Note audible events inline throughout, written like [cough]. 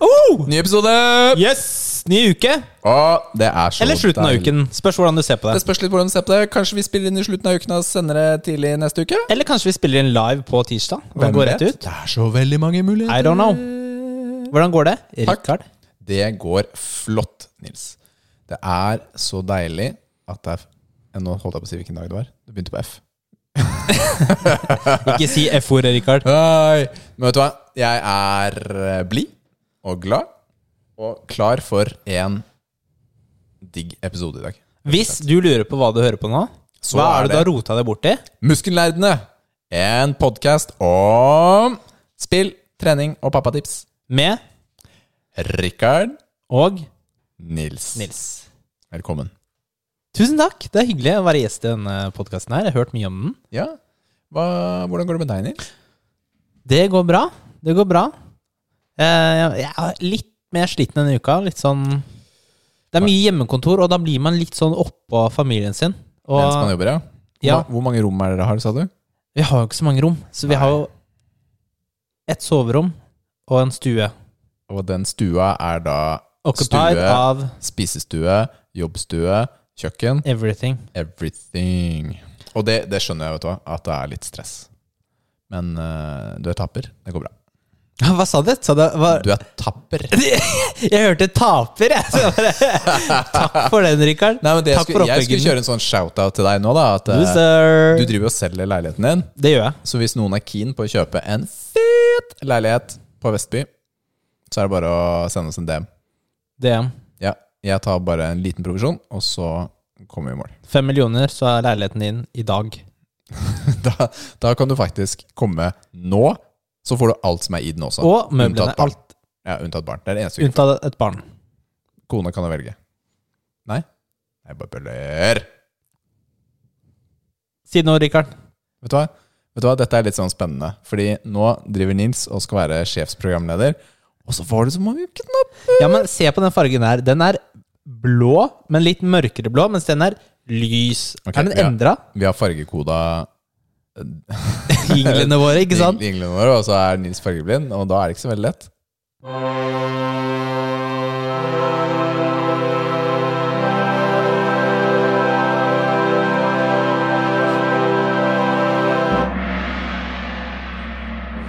Oh! Ny episode! Yes! Ny uke. Og det er så Eller slutten av deilig. uken. Spørs hvordan du ser på Det det. spørs litt hvordan du ser på det. Kanskje vi spiller inn i slutten av uken og sender det tidlig neste uke? Eller kanskje vi spiller inn live på tirsdag? Hvem Hvordan går rett vet? ut? Det er så veldig mange muligheter. I don't know. Hvordan går det? Takk. Rikard? Det går flott, Nils. Det er så deilig at det er Nå holdt jeg på å si hvilken dag det var. Det begynte på F. Ikke si F-ordet, Rikard. Hei. Men vet du hva? Jeg er eh, blid og glad og klar for en digg episode i dag. Hvis du lurer på hva du hører på nå, Så hva er er det du det. har rota deg borti? Muskellerdene. En podkast om spill, trening og pappatips. Med Rikard og Nils. Nils. Velkommen. Tusen takk. Det er hyggelig å være gjest i denne podkasten her. Jeg har hørt mye om den. Ja, hva, Hvordan går det med deg, Nils? Det går bra. Det går bra. Eh, Jeg er litt mer sliten denne uka. Litt sånn Det er mye hjemmekontor, og da blir man litt sånn oppå familien sin. Mens man Og jobber, ja. Hvor, Ja. ma- hvor mange rom er det dere har, sa du? vi har jo ikke så mange rom, så vi har jo et soverom og en stue. Og den stua er da Occupied Stue. av spisestue, jobbstue, kjøkken, everything. everything. Og det, det skjønner jeg, vet du hva, at det er litt stress. Men eh, du er tapper. Det går bra. Hva sa du? Sa du hva? Du er tapper. [laughs] Jeg hørte taper, jeg. Så bare, [laughs] takk for den, Rikard. Nei, men det jeg, Takk for skulle, jeg skulle oppleggen. kjøre en sånn shout-out til deg nå, da. At eh, Loser. du driver og selger leiligheten din. Det gjør jeg. Så hvis noen er keen på å kjøpe en fet leilighet på Vestby, så er det bare å sende oss en DM. DM. Ja, jeg tar bare en liten provisjon, og så kommer vi i mål. [laughs] Fem millioner, så er leiligheten din i dag. Da, da kan du faktisk komme nå, så får du alt som er i den også. Og møblene. Unntatt barn. Alt Ja, unntatt barn. Det er det eneste vi ikke får. unntatt et barn. Kona kan jo velge. Nei? Jeg bare bøller. Si noe, Rikard. Vet du hva? Vet du hva? Dette er litt sånn spennende, fordi nå driver Nils og skal være sjefsprogramleder, og så får du så mange knapper! Ja, men se på den fargen her. Den er blå, men litt mørkere blå, mens den er lys. Ok, er den ja. [laughs] endra? Vi har fargekoda Jinglene våre, ikke sant? Jinglene våre, og så er Nils fargeblind, og da er det ikke så veldig lett.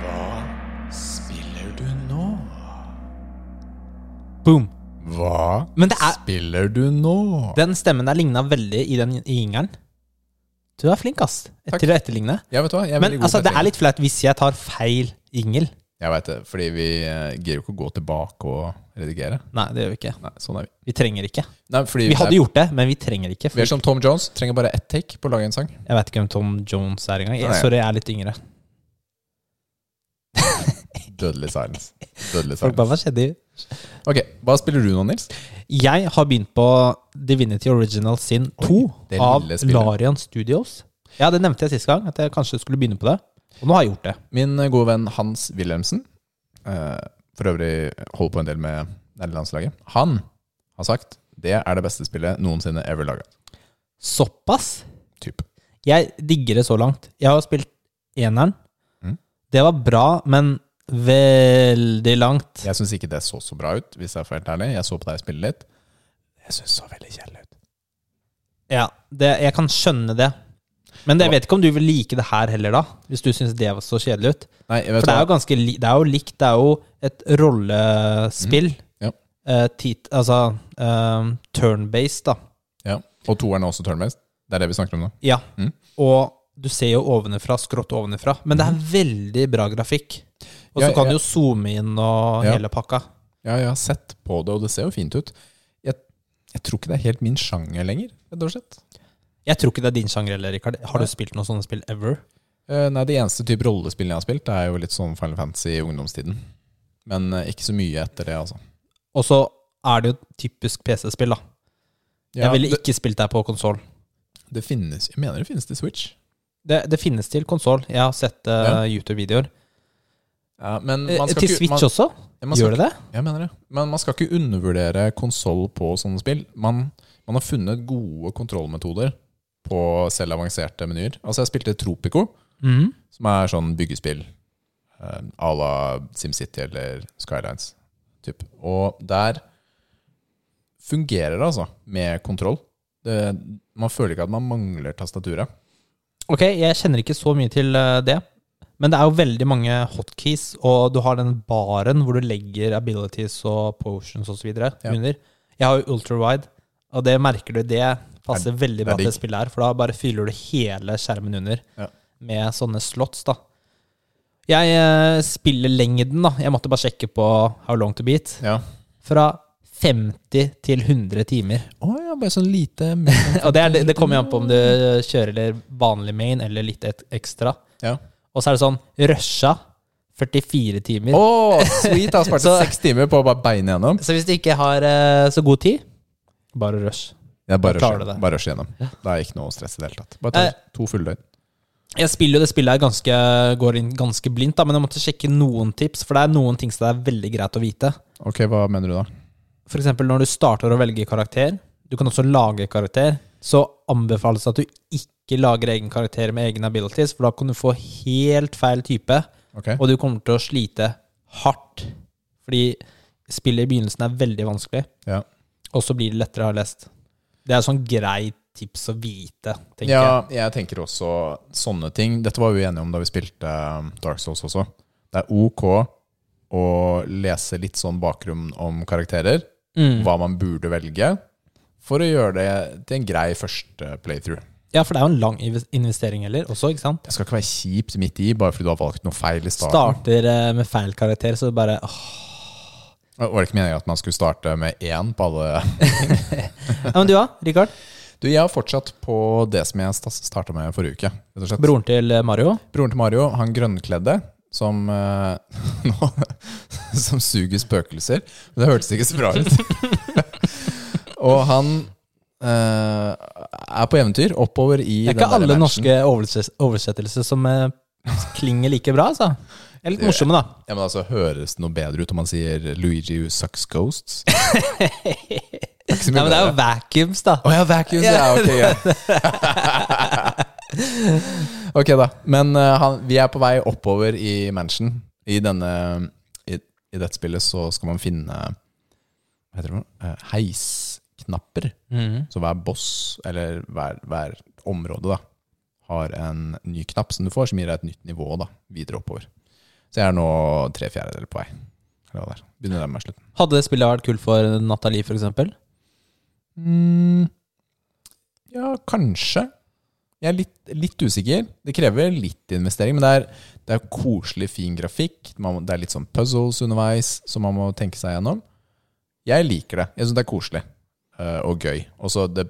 Hva spiller du nå? Boom. Hva Men det er, spiller du nå? den stemmen der ligna veldig i den i jingeren. Du er flink, ass, Takk. til å etterligne. Ja, vet du hva? Jeg er Men veldig god altså, på det dette. er litt flaut hvis jeg tar feil jingel. Jeg vet det, fordi vi eh, gidder jo ikke å gå tilbake og redigere. Nei, det gjør vi ikke. Nei, sånn er vi. Vi trenger ikke. Nei, fordi Vi hadde gjort det, men vi trenger ikke. Vi For er som Tom Jones, trenger bare ett take på å lage en sang. jeg vet ikke hvem Tom Jones er engang. Jeg- Nei. Sorry, jeg er litt yngre. Dødelig silence. Dødelig Folk bare, silence. hva skjedde i Ok, Hva spiller du nå, Nils? Jeg har begynt på Divinity Original Sin 2 det av lille spillet. Larian Studios. Ja, det nevnte jeg sist gang, at jeg kanskje skulle begynne på det. Og nå har jeg gjort det. Min eh, gode venn Hans Wilhelmsen, eh, for øvrig holder på en del med landslaget, han har sagt det er det beste spillet noensinne ever laga. Såpass. Typ. Jeg digger det så langt. Jeg har spilt eneren. Mm. Det var bra, men veldig langt. Jeg syns ikke det så så bra ut, hvis jeg er for helt ærlig. Jeg så på deg spille litt. Jeg syns det så veldig kjedelig ut. Ja, det, jeg kan skjønne det. Men jeg vet ikke om du vil like det her heller, da. Hvis du syns det så kjedelig ut. Nei, jeg vet For det er hva. jo ganske li Det er jo likt. Det er jo et rollespill. Mm. Ja. Eh, tit, altså eh, turn-based, da. Ja. Og toeren er også turnmest. Det er det vi snakker om nå. Ja. Mm. Og du ser jo ovenfra, skrått ovenfra. Men det er veldig bra grafikk. Og så Mm. Ja, kan ja. du jo zoome inn og Ja. hele pakka. Ja, jeg har sett på det, og det ser jo fint ut. Jeg, jeg tror ikke det er helt min sjanger lenger, rett og slett. Jeg tror ikke det er din sjanger heller, Rikard. Har Nei. du spilt noen sånne spill ever? Eh, nei, det eneste type rollespill jeg har spilt, det er jo litt sånn Final Fantasy i ungdomstiden. Men eh, ikke så mye etter det, altså. Og så er det jo et typisk PC-spill, da. Ja, jeg ville det, ikke spilt det her på konsoll. det finnes Jeg mener det finnes til Switch. Det, det finnes til konsoll. Jeg har sett eh, YouTube-videoer. Ja, men Eh, man skal Til ikke- Switch man, også? Ja, man skal Gjør det det? ikke- Jeg mener det. Men man skal ikke undervurdere konsoll på sånne spill. Man, man har funnet gode kontrollmetoder på selv avanserte menyer. Altså, jeg spilte Tropico, Mhm. som er sånn byggespill eh, à la SimCity eller Skylines. Typ. Og der fungerer det, altså, med kontroll. Det, man føler ikke at man mangler tastaturet. Ok, jeg kjenner ikke så mye til eh, det. Men det er jo veldig mange hotkeys, og du har den baren hvor du legger abilities og potions osv. videre Ja. under. Jeg har jo ultrawide, og det merker du. Det passer det veldig er bra digg. til det spillet her, for da bare fyller du hele skjermen under Ja. med sånne slots, da. Jeg eh, spiller lengden, da. Jeg måtte bare sjekke på how long to beat. Ja. Fra 50 til 100 timer. [laughs] Å ja, bare sånn lite Og det, er, det, det kommer jo an på om du kjører eller vanlig main eller litt et ekstra. Ja. Og så er det sånn rusha 44 timer. Å, sweet! Jeg har spart Så- seks timer på å bare beine gjennom. Så hvis du ikke har eh, så god tid, bare rush. Jeg bare Da klarer rusher du det. bare rusher gjennom. Det er ikke noe stress i det hele tatt. Bare Eh. to, to fulle døgn. Jeg spiller jo det spillet her ganske, går inn ganske blindt, da, men jeg måtte sjekke noen tips, for det er noen ting som det er veldig greit å vite. Ok, hva mener du da? For eksempel når du starter å velge karakter, du kan også lage karakter, så anbefales det at du ikke lager egen karakter med egne abilities, for da kan du få helt feil type. Ok, Og du kommer til å slite hardt. Fordi spillet i begynnelsen er veldig vanskelig, ja. og så blir det lettere å ha lest. Det er sånn grei tips å vite, tenker ja, jeg. jeg tenker også sånne ting. Dette var vi enige om da vi spilte um, Dark Souls også. Det er ok å lese litt sånn bakgrunn om karakterer, Mm. hva man burde velge, for å gjøre det til en grei første playthrough. Ja, for det er jo en lang inves- investering heller, også, ikke sant? Det skal ikke være kjipt midt i, bare fordi du har valgt noe feil i starten. Starter eh, med feil karakter, så det bare åh. Det Var det ikke meningen at man skulle starte med én på alle [laughs] Ja, Men du da, Richard? Du, jeg har fortsatt på det som jeg starta med forrige uke. Rett og slett. Broren til eh, Mario? Broren til Mario, han grønnkledde, som eh, [laughs] nå, Som suger spøkelser. Men det hørtes ikke så bra ut. [laughs] og han eh, er på eventyr oppover i Det er den ikke der alle mansion. norske overses- oversettelser som eh, klinger like bra, altså. De er litt morsomme, da. Ja, men altså, Høres det noe bedre ut om man sier 'Luigi sucks [laughs] ghosts'? Det er ikke så mye Nei, men det er jo bedre. vacuums, da. Å ja, vacuums, ja. Ok, ja. ok, da. Men eh, han, vi er på vei oppover i mansion. I, denne, i, I dette spillet så skal man finne hva heter det, for noe? Eh, heisknapper. Mhm. Så hver boss, eller hver, hver område, da, har en ny knapp som du får, som gir deg et nytt nivå da, videre oppover. Så jeg er nå tre fjerdedeler på vei. Eller hva det er. Begynner å nærme meg slutten. Hadde det spillet vært kult for Nathalie, for eksempel? Mm, ja, kanskje. Jeg er litt, litt usikker. Det krever litt investering, men det er, det er koselig, fin grafikk. Man, må- det er litt sånn puzzles underveis som man må tenke seg gjennom. Jeg liker det. Jeg syns det er koselig eh, og gøy. Og så det,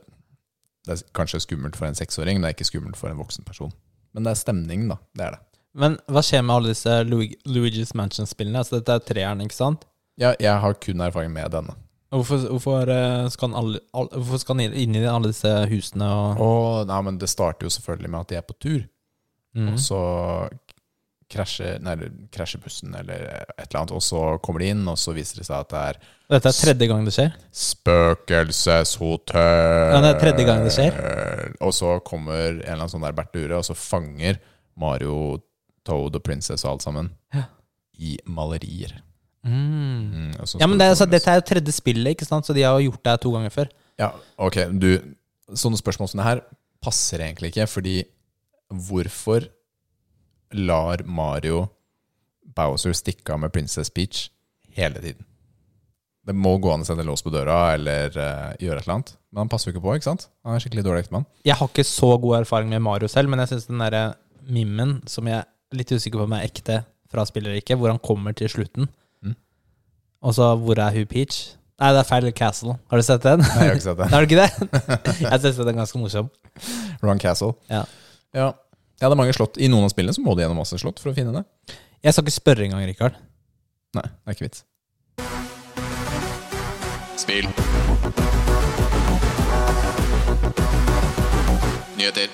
det er kanskje skummelt for en seksåring, men det er ikke skummelt for en voksen person. Men det er stemningen, da. Det er det. Men hva skjer med alle disse Lu- Luigi's Mansion-spillene? Altså, dette er treeren, ikke sant? Jeg, jeg har kun erfaring med denne. Hvorfor, hvorfor, eh, skal han alle, all, hvorfor skal han inn- inn i alle disse husene og Og, nei, men det starter jo selvfølgelig med at de er på tur. Mhm. Og så krasjer, nei, eller krasjer bussen eller et eller annet, og så kommer de inn, og så viser det seg at det er Dette er tredje gang det skjer. spøkelseshotell. Ja, det er tredje gang det Og så kommer en eller annen sånn der Berture, og så fanger Mario, Toad og Princess og alt sammen Ja. i malerier. Mm. Mm, og så Ja, skal men du det, er- så komme- Dette er jo tredje spillet, ikke sant? så de har jo gjort det her to ganger før. Ja, ok, du, sånne spørsmål som det her passer egentlig ikke, fordi hvorfor lar Mario Bowser stikke av med Princess Peach hele tiden? Det må gå an å sende lås på døra eller eh, gjøre et eller annet, men han passer jo ikke på, ikke sant? Han er en skikkelig dårlig ektemann. Jeg har ikke så god erfaring med Mario selv, men jeg syns den derre mimmen, som jeg er litt usikker på om er ekte fra spillet eller ikke, hvor han kommer til slutten Mm. Og så hvor er hun Peach? Nei, det er Feil Castle. Har du sett den? [laughs] Nei, jeg har ikke sett det. Har du ikke det? Jeg syns den er ganske morsom. Ron Castle. Ja. Ja. Ja, det er mange slott. I noen av spillene så må du gjennom masse slott for å finne det. Jeg skal ikke spørre engang, Rikard. Nei, det er ikke vits. Spill. Nyheter.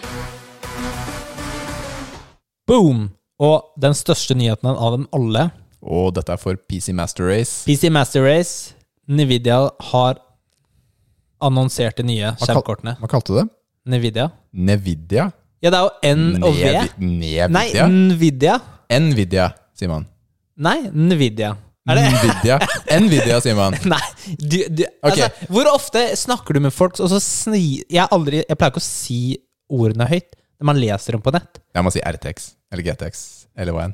Boom! Og den største nyheten av dem alle, Og dette er for PC Master Race. PC Master Race, Nvidia har annonsert de nye kal- skjermkortene. Hva kalte du det? Nvidia? Nevidia? Ja, det er jo N Mm, og V. Nevi- Nei, Nevidia? Nvidia. Nvidia, sier man. Nei, Nvidia. Er det? Nvidia. Nvidia, sier man. Nei, du, du Ok. altså, Hvor ofte snakker du med folk, og så sni... Jeg, har aldri, jeg pleier ikke å si ordene høyt, men man leser dem på nett. Jeg må si RTX eller GTX eller hva enn.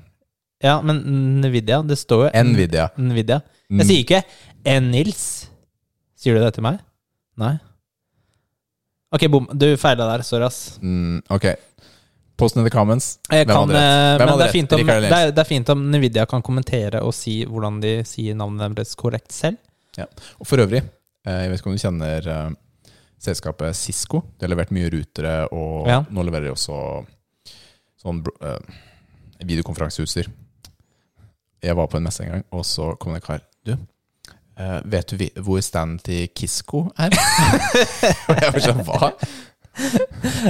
Ja, men Nvidia, det står jo Nvidia. Nvidia. Mm. Jeg sier ikke N-Nils. Sier du det til meg? Nei. Ok, bom. Du feila der. Sorry, ass. Mm, ok. Post in the comments. Jeg Hvem kan, hadde rett? eh, Hvem men hadde det er, rett? fint om, Rikard eller det, er, det er fint om Nvidia kan kommentere og si hvordan de sier navnet deres korrekt selv. Og for øvrig, eh, jeg vet ikke om du kjenner eh, selskapet Cisco. De har levert mye rutere, og Ja. nå leverer de også sånn bro- eh, videokonferanseutstyr. Jeg var på en messe en gang, og så kom det en kar. Du, eh, vet du vi- hvor standen til Kisko er? [laughs] Og jeg var sånn, hva?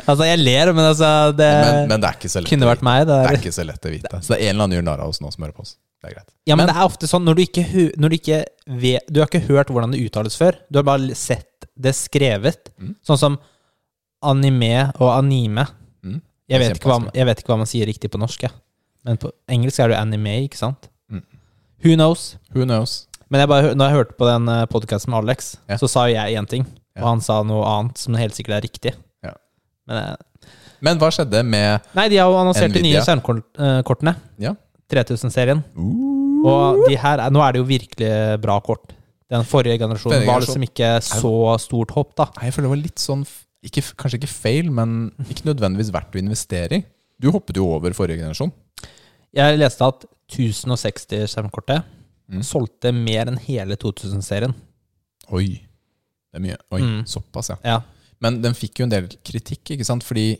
Altså, jeg ler, men altså Det Men, men det er ikke så lett kunne å vært vite. meg. Det Det der. er ikke så lett å vite. Så det er en eller annen gjør narr av oss nå som hører på oss. Det er greit. Ja, men, det er ofte sånn når du ikke, hu- når du ikke vet Du har ikke hørt hvordan det uttales før. Du har bare sett det skrevet. Mm. Sånn som anime og anime. Mm. Jeg, Det er vet ikke hva, kjempevanskelig. jeg vet ikke hva man sier riktig på norsk. jeg. Men på engelsk er det jo anime, ikke sant? Mm. Who knows? Who knows? Men jeg bare, hø- når jeg hørte på den podkasten med Alex, Ja. så sa jo jeg én ting. Ja. Og han sa noe annet som helt sikkert er riktig. Ja. Men, eh, Men hva skjedde med nei, de har jo annonsert de nye Nvidia. eh, skjermkortene. Ja. 3000-serien. Og de her, er- nå er det jo virkelig bra kort. Den forrige generasjonen Denne var generasjonen. liksom ikke så stort hopp, da. Nei, jeg føler det var litt sånn f- ikke, f- Kanskje ikke feil, men ikke nødvendigvis verdt å investere i. Du hoppet jo over forrige generasjon. Jeg leste at 1060-skjermkortet Mm. solgte mer enn hele 2000-serien. Oi. Det er mye. Oi, Mm. Såpass, ja. Ja. Men den fikk jo en del kritikk, ikke sant? Fordi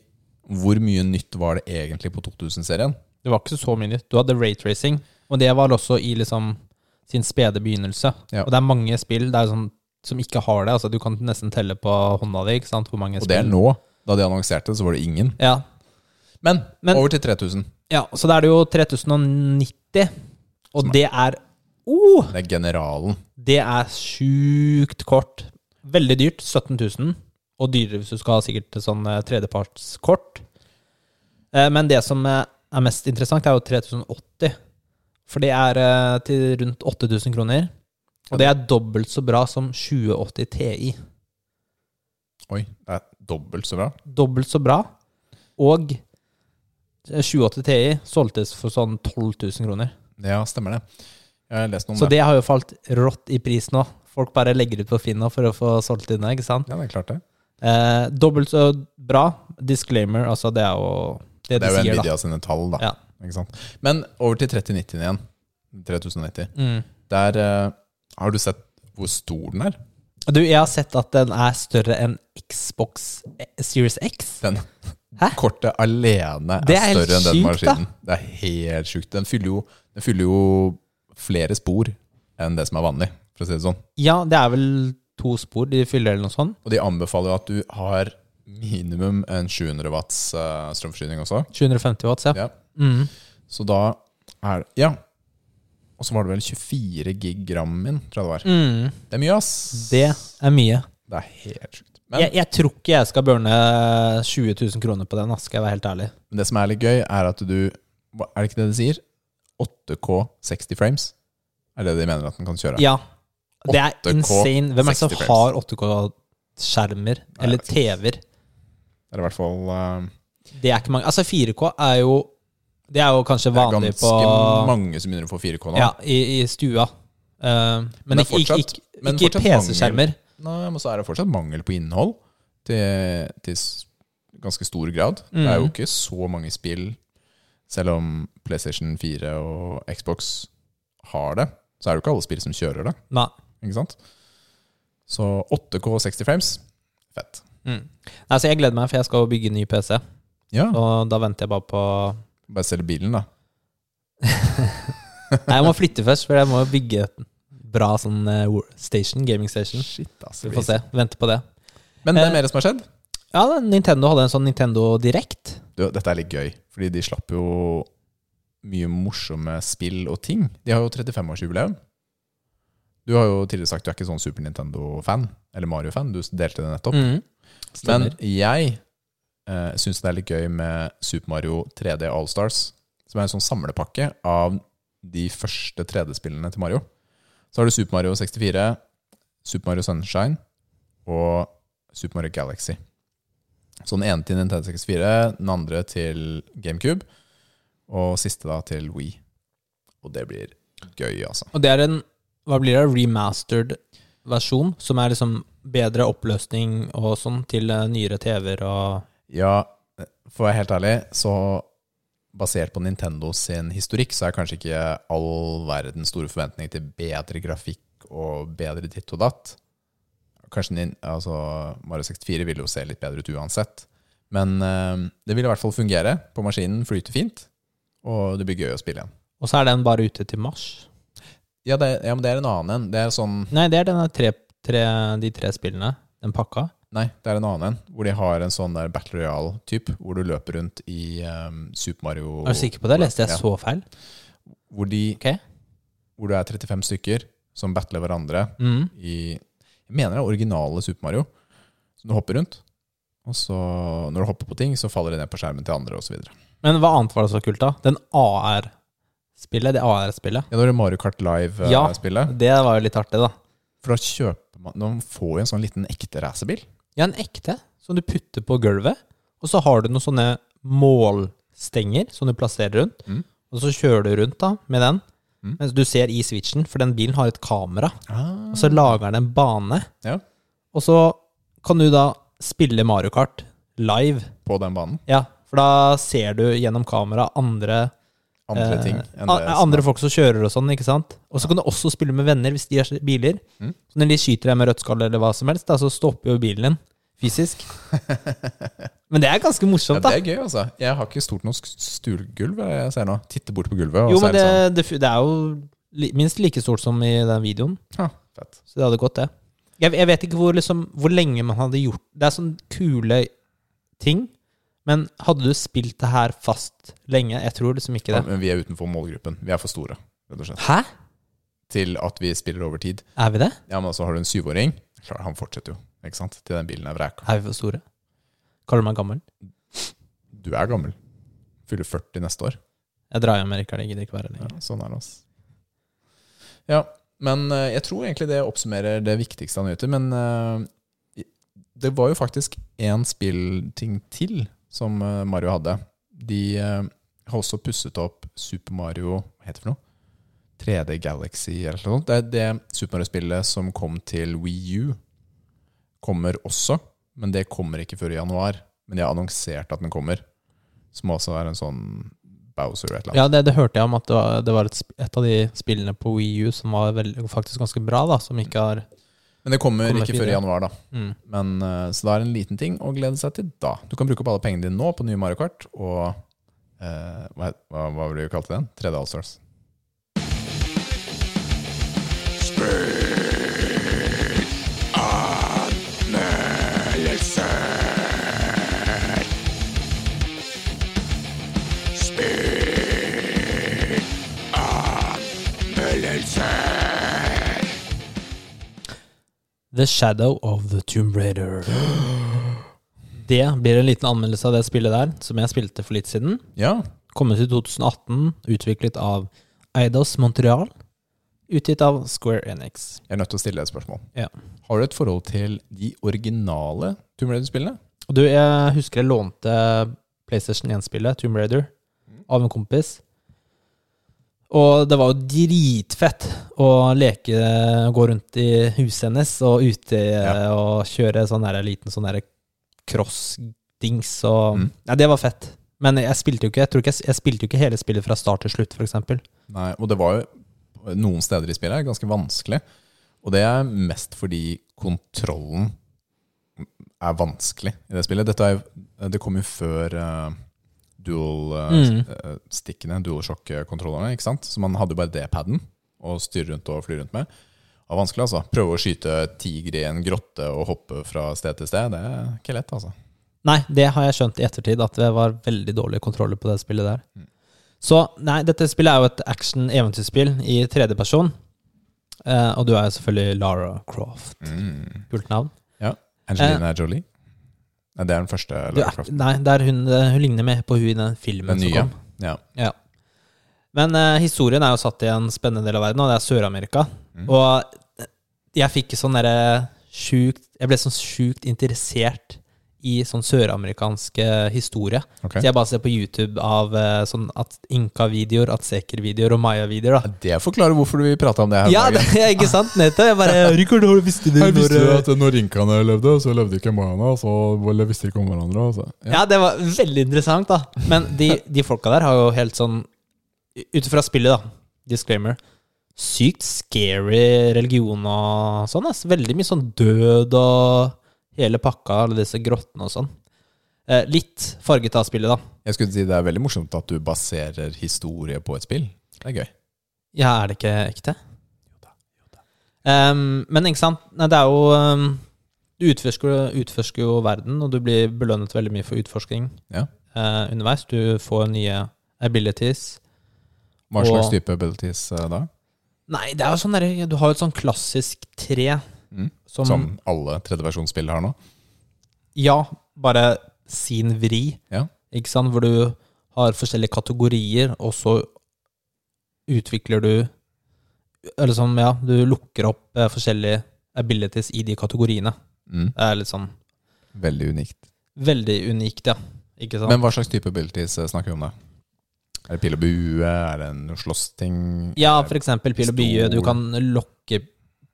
hvor mye nytt var det egentlig på 2000-serien? Det var ikke så mye nytt. Du hadde raytracing, og det var også i liksom sin spede begynnelse. Ja. Og det er mange spill det er sånn, som ikke har det. Altså, du kan nesten telle på hånda di ikke sant? hvor mange Og det er spill. nå. Da de annonserte, så var det ingen. Ja. Men, Men- over til 3000. ja, så da er det jo 3090, og Som er- det er oh, Det er generalen. Det er sjukt kort. Veldig dyrt. 17 000. Og dyrere hvis du skal ha sikkert sånn eh, tredjepartskort. Eh, Men det som eh, er mest interessant, er jo 3080. For det er eh, til rundt 8000 kroner. Og det er dobbelt så bra som 2080 Ti. Oi, det er dobbelt så bra. Dobbelt så bra. Og 2080 Ti solgtes for sånn 12 000 kroner. Ja, stemmer det. Jeg har lest noe om Så det har jo falt rått i pris nå. Folk bare legger ut på Finn nå for å få solgt inn det, ikke sant? Ja, det er klart det. Eh, dobbelt så bra. Disclaimer, altså det er jo det, Det er de jo sier, da. Nvidia sine tall, da. Ja. Ikke sant? Men over til 3090 igjen. 3090. Mm. Der eh, Har du sett hvor stor den er? Du, jeg har sett at den er større enn Xbox eh, Series X. Den [laughs] Hæ? kortet alene Det er, er helt større enn den sjukt, da. maskinen. Det er helt sjukt. Den fyller, jo, den fyller jo flere spor enn det som er vanlig, for å si det sånn. Ja, det er vel to spor de fyller, eller noe sånt. Og de anbefaler jo at du har minimum en 700 watts eh, strømforsyning også. 750 watts, Ja. ja. Mm. Så da er det Ja. Og så var det vel 24 gig gram min, tror jeg det var. Mm. Det er mye, ass. Det er mye. Det er helt sjukt. Men Jeg, jeg tror ikke jeg skal burne 20 000 kroner på den, ass, skal jeg være helt ærlig. Men det som er litt gøy, er at du hva- Er det ikke det de sier? 8K 60 frames? Er det de mener at den kan kjøre? Ja. Det er 8K insane. Hvem er 60 det som frames? har 8K-skjermer eller Nei, TV-er? Det er i hvert fall eh, Det er ikke mange. Altså, 4K er jo Det er jo kanskje det er vanlig ganske på mange som begynner å få 4K nå. Ja, i, i stua. Eh, men, det er ikke, ikke, fortsatt- ikke, men ikke fortsatt PC-skjermer. Nei, men så er det fortsatt mangel på innhold til, til s- ganske stor grad. Det er jo Mhm. ikke så mange spill, selv om PlayStation 4 og Xbox har det. Så er det jo ikke alle spill som kjører det. Nei. Ikke sant? Så 8K 60 frames, fett. Mm. Nei, så jeg gleder meg, for jeg skal bygge ny PC. Ja, Og da venter jeg bare på bare selge bilen, da. Nei, jeg må flytte først, for jeg må bygge et bra sånn eh, wo- station, gaming station. Shit, ass. Så vi får se. Vente på det. Men det Eh, er mer som har skjedd. Ja, da, Nintendo hadde en sånn Nintendo Direct. Du, dette er litt gøy, fordi de slapp jo mye morsomme spill og ting. De har jo 35-årsjubileum. Du har jo tidligere sagt du er ikke sånn Super Nintendo-fan, eller Mario-fan. Du delte det nettopp. Men Mm. Stemmer. jeg eh, syns det er litt gøy med Super Mario 3D All Stars, som er en sånn samlepakke av de første 3D-spillene til Mario. Så har du Super Mario 64, Super Mario Sunshine og Super Mario Galaxy. Så den ene til Nintendo 64, den andre til GameCube, og siste da til Wii. Og det blir gøy, altså. Og det er en hva blir det, remastered versjon, som er liksom bedre oppløsning og sånn til eh, nyere TV-er og Ja, for å være helt ærlig, så basert på Nintendo sin historikk, så er kanskje ikke all verdens store forventning til bedre grafikk og bedre ditt og datt. Kanskje nin, altså Mario 64 ville jo se litt bedre ut uansett. Men eh, det vil i hvert fall fungere på maskinen, flyter fint, og det blir gøy å spille igjen. Og så er den bare ute til mars. Ja, det, ja men det er en annen en. Det er sånn Nei, det er denne tre, tre, de tre spillene. Den pakka. Nei, det er en annen en, hvor de har en sånn der Battle Royale-type, hvor du løper rundt i eh, Super Mario Er du sikker på det? Leste jeg Ja. så feil? Hvor de Ok. hvor du er 35 stykker som battler hverandre Mm. i Jeg mener det er originale Super Mario. Så du hopper rundt, og så når du hopper på ting, så faller det ned på skjermen til andre osv. Ja, Men hva annet var det så kult, da? Den AR-spillet, det AR-spillet. når det er Mario Kart Ja. Live-spillet Det var jo litt artig, da. For da kjøper man Man får jo en sånn liten ekte racerbil. Ja, en ekte som du putter på gulvet, og så har du noen sånne målstenger som du plasserer rundt, Mm. og så kjører du rundt da, med den, Mm. mens du ser i switchen, for den bilen har et kamera, og Ah. så lager den en bane, Ja. og så kan du da spille Mario Kart live, På den banen. ja, for da ser du gjennom kamera andre, Andre eh, ting enn a- det som andre folk som kjører og sånn, ikke sant? Og så kan du også spille med venner hvis de har biler, Mm. så når de skyter deg med rødt skall eller hva som helst, da, så stopper jo bilen din, [laughs] fysisk. Men det er ganske ja, morsomt, Det da. er gøy, altså. Jeg har ikke stort nok stuegulv, er det jeg ser nå. Titter bort på gulvet, og Jo, så men er det det, sånn det, fu- det er jo li, minst like stort som i den videoen, sånn, «Ha, Fett. så det hadde gått, det. Jeg, jeg vet ikke hvor, liksom, hvor lenge man hadde gjort Det er sånne kule ting, men hadde du spilt det her fast lenge? Jeg tror liksom ikke Ja, det. men vi er utenfor målgruppen. Vi er for store, rett og slett. Hæ? Til at vi spiller over tid. Er vi det? Ja, men altså har du en syvåring Klar, Han fortsetter jo, ikke sant? Til den bilen er vreka. Er vi for store? Kaller du meg gammel? Du er gammel. Fyller 40 neste år. Jeg drar hjem, Rikard. Jeg gidder ikke være her Ja, lenger. sånn er det, altså. Ja, men eh, jeg tror egentlig det oppsummerer det viktigste av nyheter. Men eh, det var jo faktisk én spillting til som eh, Mario hadde. De eh, har også pusset opp Super Mario Hva heter det for noe? 3D Galaxy eller noe sånt. Det er det Super Mario-spillet som kom til Wii U, kommer også. Men det kommer ikke før i januar. Men de har annonsert at den kommer. Som også er en sånn Bowser et eller annet. Ja, det, det hørte jeg om at det var, det var et, sp- et av de spillene på Wii U som var veldig, faktisk ganske bra, da, som ikke har Men det kommer, Kommer ikke fire. før i januar, da. mm. Men, eh, så det er en liten ting å glede seg til da. Du kan bruke opp alle pengene dine nå på nye Mario Kart og eh, hva, hva, hva ville du kalt den? 3D Allstars. The Shadow of the Tomb Raider. Det blir en liten anmeldelse av det spillet der, som jeg spilte for litt siden. Ja. Kommet i 2018, utviklet av Eidos Montreal. Utgitt av Square Enix. Jeg er nødt til å stille deg et spørsmål. Ja. Har du et forhold til de originale Tomb Raider-spillene? Og du, jeg husker jeg lånte PlayStation 1-spillet, Tomb Raider, Mm. av en kompis. Og det var jo dritfett å leke, gå rundt i huset hennes og ute Ja. og kjøre sånn der liten sånn der cross-dings og Mm. Ja, det var fett. Men jeg spilte jo ikke jeg, tror ikke jeg, jeg spilte jo ikke hele spillet fra start til slutt, for eksempel. Nei, og det var jo noen steder i spillet ganske vanskelig. Og det er mest fordi kontrollen er vanskelig i det spillet. Dette er, jo- det kom jo før eh, dual Mm. eh, stikkene, dual sjokk-kontrollerne, ikke sant? Så man hadde jo bare D-paden å styre rundt og fly rundt med. Det var vanskelig, altså. Prøve å skyte tiger i en grotte og hoppe fra sted til sted, det er ikke lett, altså. Nei, det har jeg skjønt i ettertid, at det var veldig dårlige kontroller på det spillet der. Mm. Så nei, dette spillet er jo et action-eventyrspill i tredjeperson. Eh, og du er jo selvfølgelig Lara Croft. Mm. Kult navn. Angelina Jolie? Nei, det er den første. Eh. Du Lara er, Croft. nei, det er hun, hun ligner mer på hun i den filmen Den som nye. kom. Ja. Men eh, historien er jo satt i en spennende del av verden, og det er Sør-Amerika. Mm. Og eh, jeg fikk sånn derre sjukt Jeg ble sånn sjukt interessert i sånn søramerikansk eh, historie. Ok. Så jeg bare ser på YouTube av eh, sånn at inka-videoer, atseker-videoer og maya-videoer. da. Det forklarer hvorfor vi prata om det her. om Ja, dagen. det [laughs] er ikke sant? Nettopp. Jeg bare Rikard, har du visst det? Her visste når, du eh, at når inkaene levde, så levde ikke mayaene. og Så visste de ikke om hverandre. altså. og så- Ja, det var veldig interessant, da. Men de, de folka der har jo helt sånn Ut ifra spillet, da. Disclaimer. Sykt scary religion og sånn. Ass. Veldig mye sånn død og hele pakka, alle disse grottene og sånn. Eh, litt farget av spillet, da. Jeg skulle si Det er veldig morsomt at du baserer historie på et spill. Det er gøy. Ja, er det ikke ekte? Ehm, men ikke sant, Nei, det er jo ehm, Du utforsker, utforsker jo verden, og du blir belønnet veldig mye for utforsking Ja. eh, underveis. Du får nye abilities. Hva slags Og- type abilities eh, da? Nei, det er jo sånn derre Du har jo et sånn klassisk tre Mm. som, Som alle tredjeversjonsspill har nå? Ja, bare sin vri. Ja. Ikke sant? Hvor du har forskjellige kategorier, og så utvikler du Eller sånn, ja, du lukker opp eh, forskjellige abilities i de kategoriene. Mm. Det er litt sånn Veldig unikt. veldig unikt, ja. Ikke sant? Men hva slags type abilities eh, snakker vi om da? Er det pil og bue? Er det en slåssting? ja, for eksempel pil og bue. Du Pistol. kan lokke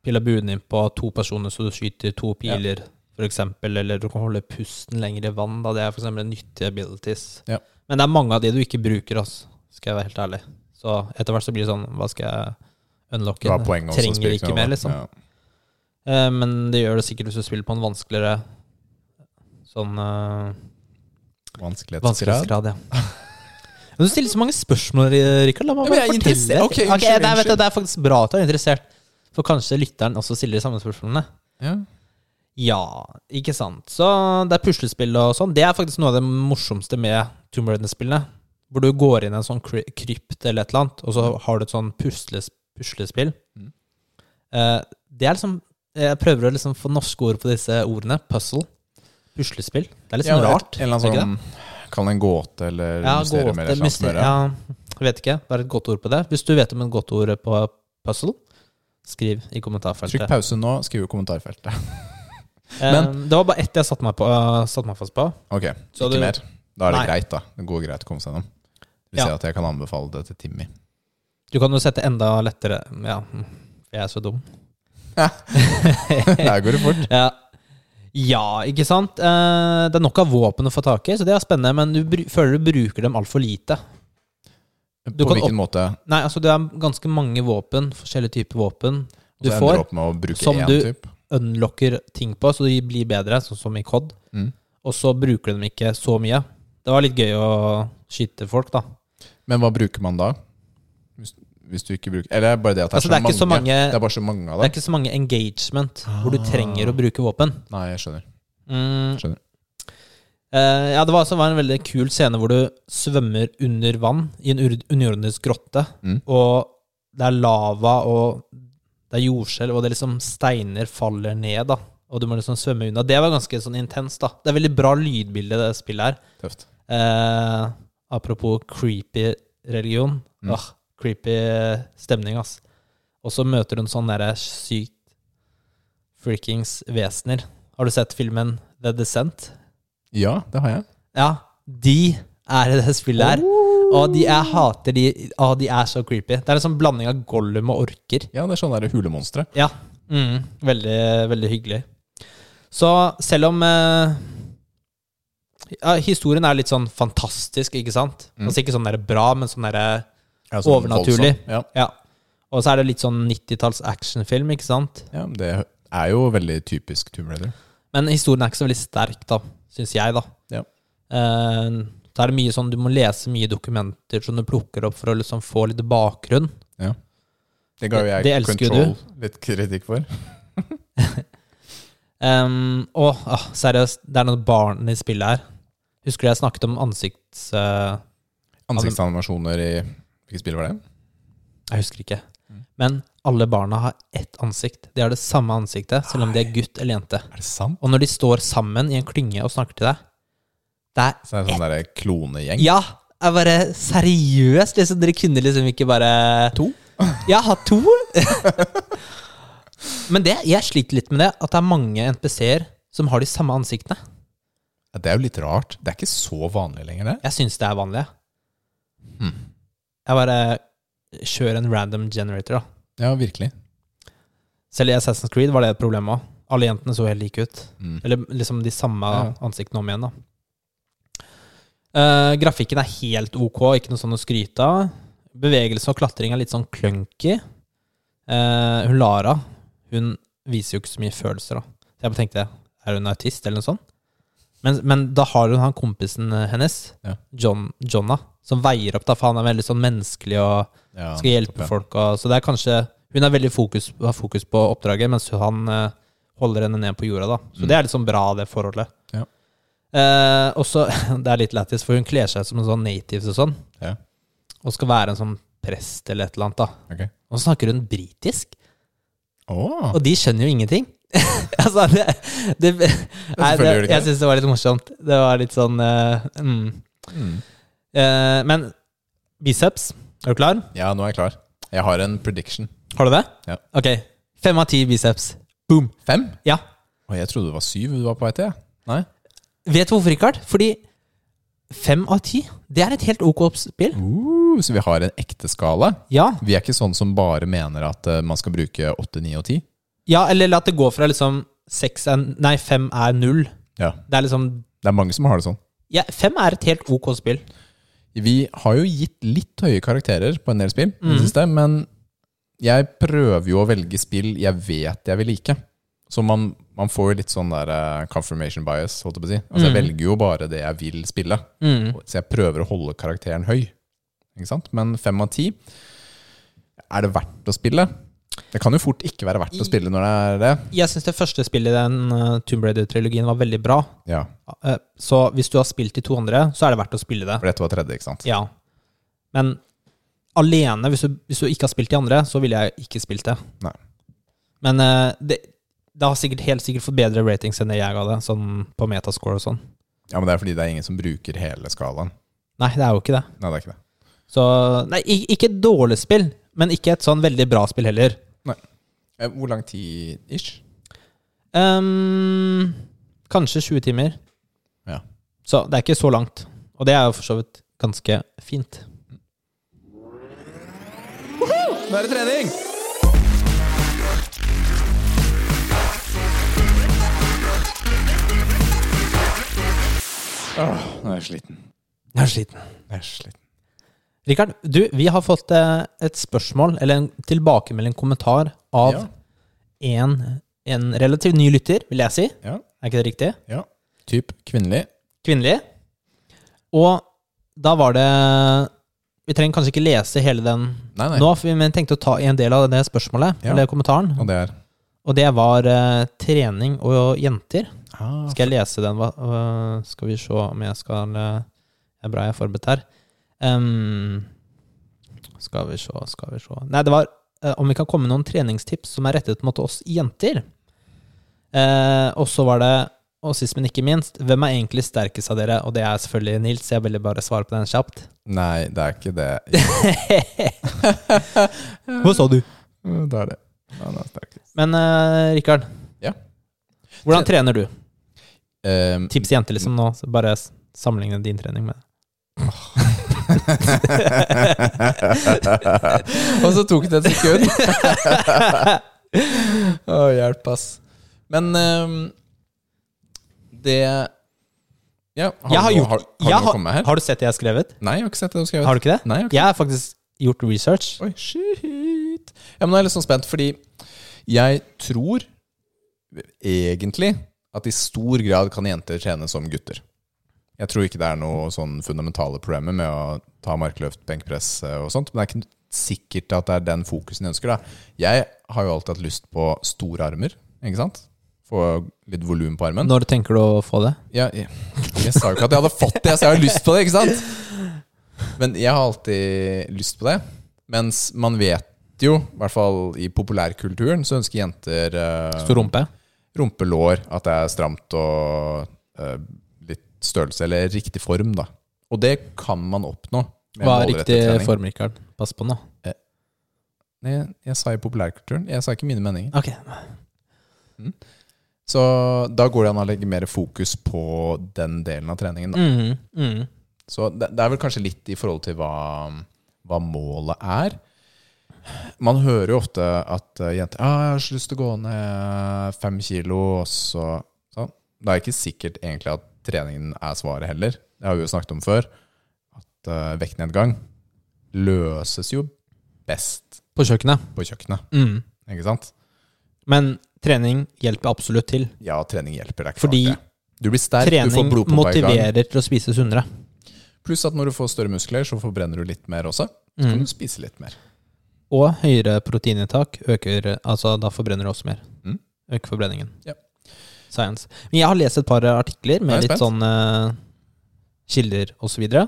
pil og buen inn på to personer, så du skyter to piler, for eksempel. Eller du kan holde pusten lenger i vann. Da. Det er for eksempel nyttige abilities. Ja. Men det er mange av de du ikke bruker, altså. skal jeg være helt ærlig. Så etter hvert så blir det sånn, hva skal jeg unlocke? Det var poenget også, Trenger spill, ikke mer, liksom. Ja. Eh, men det gjør det sikkert hvis du spiller på en vanskeligere sånn eh, Vanskelighetsgrad? Vanskelighetsgrad, ja. [laughs] Men du stiller så mange spørsmål, Rikard. La Ja, meg men bare jeg er fortelle. interessert. Ok, unnskyld, det, er- vet du, unnskyld. det er faktisk bra at du er interessert, for kanskje lytteren også stiller de samme spørsmålene. Ja. Ja, ikke sant. Så det er puslespill og sånn. Det er faktisk noe av det morsomste med Tomb Raider-spillene. Hvor du går inn i en sånn kry- krypt eller et eller annet, og så har du et sånn pusles, puslespill. Mm. Eh, det er liksom Jeg prøver å liksom få norske ord på disse ordene. Puzzle. Puslespill. Det er litt sånn Ja, rart. Et, en eller er ikke det? annen sånn Kall det en gåte eller Ja, mysterium gåte, eller et eller annet som myster- gjør det. ja, jeg vet ikke. Det er et godt ord på det. Hvis du vet om et godt ord på puzzle, skriv i Trykk kommentarfeltet. pause nå, skriv i kommentarfeltet. [laughs] Eh, det var bare ett jeg satte meg, på, eh, satte meg fast på. Ok, Så ikke du- mer. Da er det Nei. greit, da. Det går greit å komme seg gjennom. Vi Ja. ser at jeg kan anbefale det til [laughs] Timmy. [laughs] Du kan jo sette enda lettere Ja, mm, jeg er så dum. Der går det fort. Ja, ja ikke sant? Eh, det er nok av våpen å få tak i, så det er spennende, men du bru- føler du bruker dem altfor lite. Du På kan hvilken måte? Nei, altså det er ganske mange våpen, forskjellige typer våpen Du du så ender får. du opp med å bruke som én du- type. unlocker ting på, så de blir bedre, sånn som i COD. Mm. Og så bruker du dem ikke så mye. Det var litt gøy å skyte folk, da. Men hva bruker man da? Hvis, hvis du ikke bruker Eller er det bare det at det er, Altså, det er ikke så mange- Det er bare så mange av Det er dem. ikke så mange engagement hvor du Ah. trenger å bruke våpen. Nei, jeg skjønner. Mm. Skjønner. Eh, ja, det var, altså- var en veldig kul scene hvor du svømmer under vann i en ur- underjordisk grotte, Mm. og det er lava, og det er jordskjelv, og det er liksom steiner faller ned, da. Og du må liksom svømme unna. Det var ganske sånn intenst, da. Det er veldig bra lydbilde, det spillet her. Tøft. Eh, apropos creepy religion. Mm. Åh, creepy stemning, ass. Og så møter hun sånne derre sykt freakings vesener. Har du sett filmen The Descent? Ja, det har jeg. Ja, de er i det spillet her. Og de jeg hater de Å, de er så creepy. Det er en sånn blanding av Gollum og orker. Ja, det er sånne der hulemonstre. Ja. Mm, veldig, veldig hyggelig. Så selv om eh, ja, Historien er litt sånn fantastisk, ikke sant? Mm. Altså ikke sånn der bra, men sånn derre Ja, sånn Overnaturlig. voldsom. Ja. Ja. Og så er det litt sånn 90-talls actionfilm, ikke sant? ja, men det er jo veldig typisk Tomb Raider. Men historien er ikke så veldig sterk, da, syns jeg, da. Ja. Eh, så er det mye sånn, Du må lese mye dokumenter som du plukker opp for å liksom få litt bakgrunn. Det ga jo jeg Det- det elsker jo Control litt kritikk for. Ehm, og ah, seriøst, det er noen barn i spillet her. Husker du jeg snakket om ansikts... eh, Ansiktsanimasjoner i Hvilket spill var det? jeg husker ikke. Mm. Men alle barna har ett ansikt. De har det samme ansiktet, selv om de er gutt eller jente. Er det sant? Og når de står sammen i en klynge og snakker til deg Det er Så er det sånn derre klonegjeng. Ja! Jeg bare Seriøst? Liksom, dere kunne liksom ikke bare [laughs] To? Jeg har to! [laughs] Men det, jeg sliter litt med det, at det er mange NPC-er som har de samme ansiktene. Ja, det er jo litt rart. Det er ikke så vanlig lenger, det. Jeg syns det er vanlig. jeg. Hmm. Jeg bare kjører en random generator, da. Ja, virkelig. Selv i Assassin's Creed var det et problem òg. Alle jentene så helt like ut. Mm. Eller liksom de samme Ja. ansiktene om igjen, da. Eh, grafikken er helt ok, ikke noe sånn å skryte av. Bevegelse og klatring er litt sånn clunky. Eh, hun Lara hun viser jo ikke så mye følelser, da. Så jeg bare tenkte, er hun autist, eller noe sånt? Men, men da har hun han kompisen eh, hennes, Ja. John, Jonna, som veier opp, da, for han er veldig sånn menneskelig og Ja, skal hjelpe nettopp, ja. folk. Og, så det er kanskje Hun er veldig fokus, har fokus på oppdraget, mens han eh, holder henne ned på jorda. da Så Mm. det er liksom bra, det forholdet. Ja. Eh, og så [laughs] Det er litt lættis, for hun kler seg som en sånn native og sånn. Ja. Og skal være en sånn prest eller et eller annet. da Ok. Og så snakker hun britisk, Åh, og de skjønner jo ingenting. [laughs] altså, det, det, nei, selvfølgelig det, gjør de ikke jeg det. syns det var litt morsomt. Det var litt sånn eh, mm. Mm. Eh, Men biceps, er du klar? Ja, nå er jeg klar. Jeg har en prediction. Har du det? Ja. Ok. Fem av ti biceps. Boom. Fem? Ja. Og jeg trodde det var syv du var på vei til. jeg. Nei? Vet du hvorfor, Rikard? Fordi fem av ti, det er et helt ok spill. Uh, så vi har en ekte skala. Ja. Vi er ikke sånn som bare mener at eh, man skal bruke åtte, ni og ti. ja, eller at det går fra liksom seks er Nei, fem er null. Ja. Det er liksom Det er mange som har det sånn. ja, Fem er et helt ok spill. Vi har jo gitt litt høye karakterer på en del spill, i det siste, men jeg prøver jo å velge spill jeg vet jeg vil like. Så man, man får jo litt sånn der eh, confirmation bias, holdt jeg på å si. Altså, jeg velger jo bare det jeg vil spille. Mm. Så jeg prøver å holde karakteren høy. Ikke sant? Men fem av ti Er det verdt å spille? Det kan jo fort ikke være verdt å spille når det er det. Jeg syns det første spillet i den eh, Tomb Raider-trilogien var veldig bra. Ja, Eh, Så hvis du har spilt de to andre, så er det verdt å spille det. For dette var tredje, ikke sant? Ja. Men alene, hvis du, hvis du ikke har spilt de andre, så ville jeg ikke spilt det. Nei. Men eh, det, det har sikkert, helt sikkert fått bedre ratings enn det jeg ga det, sånn på metascore og sånn. Ja, Men det er fordi det er ingen som bruker hele skalaen. Nei, det er jo ikke det. Nei, det er ikke det. Så Nei, i- ikke et dårlig spill, men ikke et sånn veldig bra spill heller. Eh, Hvor lang tid ish? Ehm, kanskje 20 timer. Ja. Så det er ikke så langt. Og det er jo for så vidt ganske fint. Nå er det trening! Åh, Ah, nå er jeg sliten. Jeg er sliten. Jeg er sliten. Rikard, du, vi har fått eh, et spørsmål, eller en tilbakemelding, kommentar, av Ja. en, en relativt ny lytter, vil jeg si. Ja. Er ikke det riktig? ja. Typ kvinnelig. Kvinnelig. Og da var det Vi trenger kanskje ikke lese hele den Nei, nei. nå, for vi men tenkte å ta en del av det spørsmålet, Ja. eller kommentaren. Og det er Og det var eh, trening og jenter. ah, Skal jeg lese den? Hva, øh, skal vi se om jeg skal øh, Det er bra jeg er forberedt her. Ehm, skal vi se, skal vi se Nei, det var øh, om vi kan komme med noen treningstips som er rettet mot oss jenter. Eh, og så var det og sist, men ikke minst, hvem er egentlig sterkest av dere? Og det er selvfølgelig Nils. Jeg ville bare svare på den kjapt. [laughs] Nei, det er ikke [laughs] det. Hva sa du? Det er det. Han er sterk. Men eh, Rikard, Ja. hvordan trener du? Ehm, Tips til jenter, liksom, nå. Så bare s- sammenligne din trening med og så tok det et sekund. [laughs] Å, hjelp, ass. Men ehm, det Ja, har, [laughs] Jeg har du, noe- gjort- har, har jeg du noe å komme med her? Har du sett det jeg har skrevet? Nei, jeg har ikke sett det du har skrevet. Har du ikke det? Nei, jeg har ikke- Jeg har faktisk gjort research. Oi, shit. Ja, men nå er jeg litt sånn spent, fordi jeg tror egentlig at i stor grad kan jenter trene som gutter. Jeg tror ikke det er noe sånn fundamentale problemer med å ta markløft, benkpress eh, og sånt, men det er ikke sikkert at det er den fokusen jeg ønsker. Da. Jeg har jo alltid hatt lyst på store armer, ikke sant? Få litt volum på armen. Når tenker du å få det? Ja, jeg, jeg sa jo ikke at jeg hadde fått det, så jeg har lyst på det, ikke sant? Men jeg har alltid lyst på det. Mens man vet jo, i hvert fall i populærkulturen, så ønsker jenter eh, Stor rumpe? rumpelår, at det er stramt og eh, litt størrelse, eller riktig form, da. Og det kan man oppnå. med Hva er målrettet riktig trening. form, Rikard? Pass på nå. Nei, Jeg, jeg sa i populærkulturen. Jeg sa ikke mine meninger. Ok. Så da går det an å legge mer fokus på den delen av treningen. Da. Mhm, mhm. Så det, det er vel kanskje litt i forhold til hva, hva målet er. Man hører jo ofte at eh, jenter ah, 'Jeg har så lyst til å gå ned fem kilo', og så sånn. Det er ikke sikkert egentlig at treningen er svaret heller. Det har vi jo snakket om før. At eh, vektnedgang løses jo best På kjøkkenet. på kjøkkenet, Mhm. ikke sant? Men trening hjelper absolutt til. Ja, trening hjelper. Det er ikke Fordi rart det. du blir sterk, du får Trening blodpumpa i gang. motiverer til å spise sunnere. Pluss at når du får større muskler, så forbrenner du litt mer også. Så Mhm. kan du spise litt mer. Og høyere proteininntak øker Altså, da forbrenner du også mer. Mm. Øker forbrenningen. Ja. Science. Men jeg har lest et par artikler Nå er med jeg litt spent. sånn eh, kilder og så videre.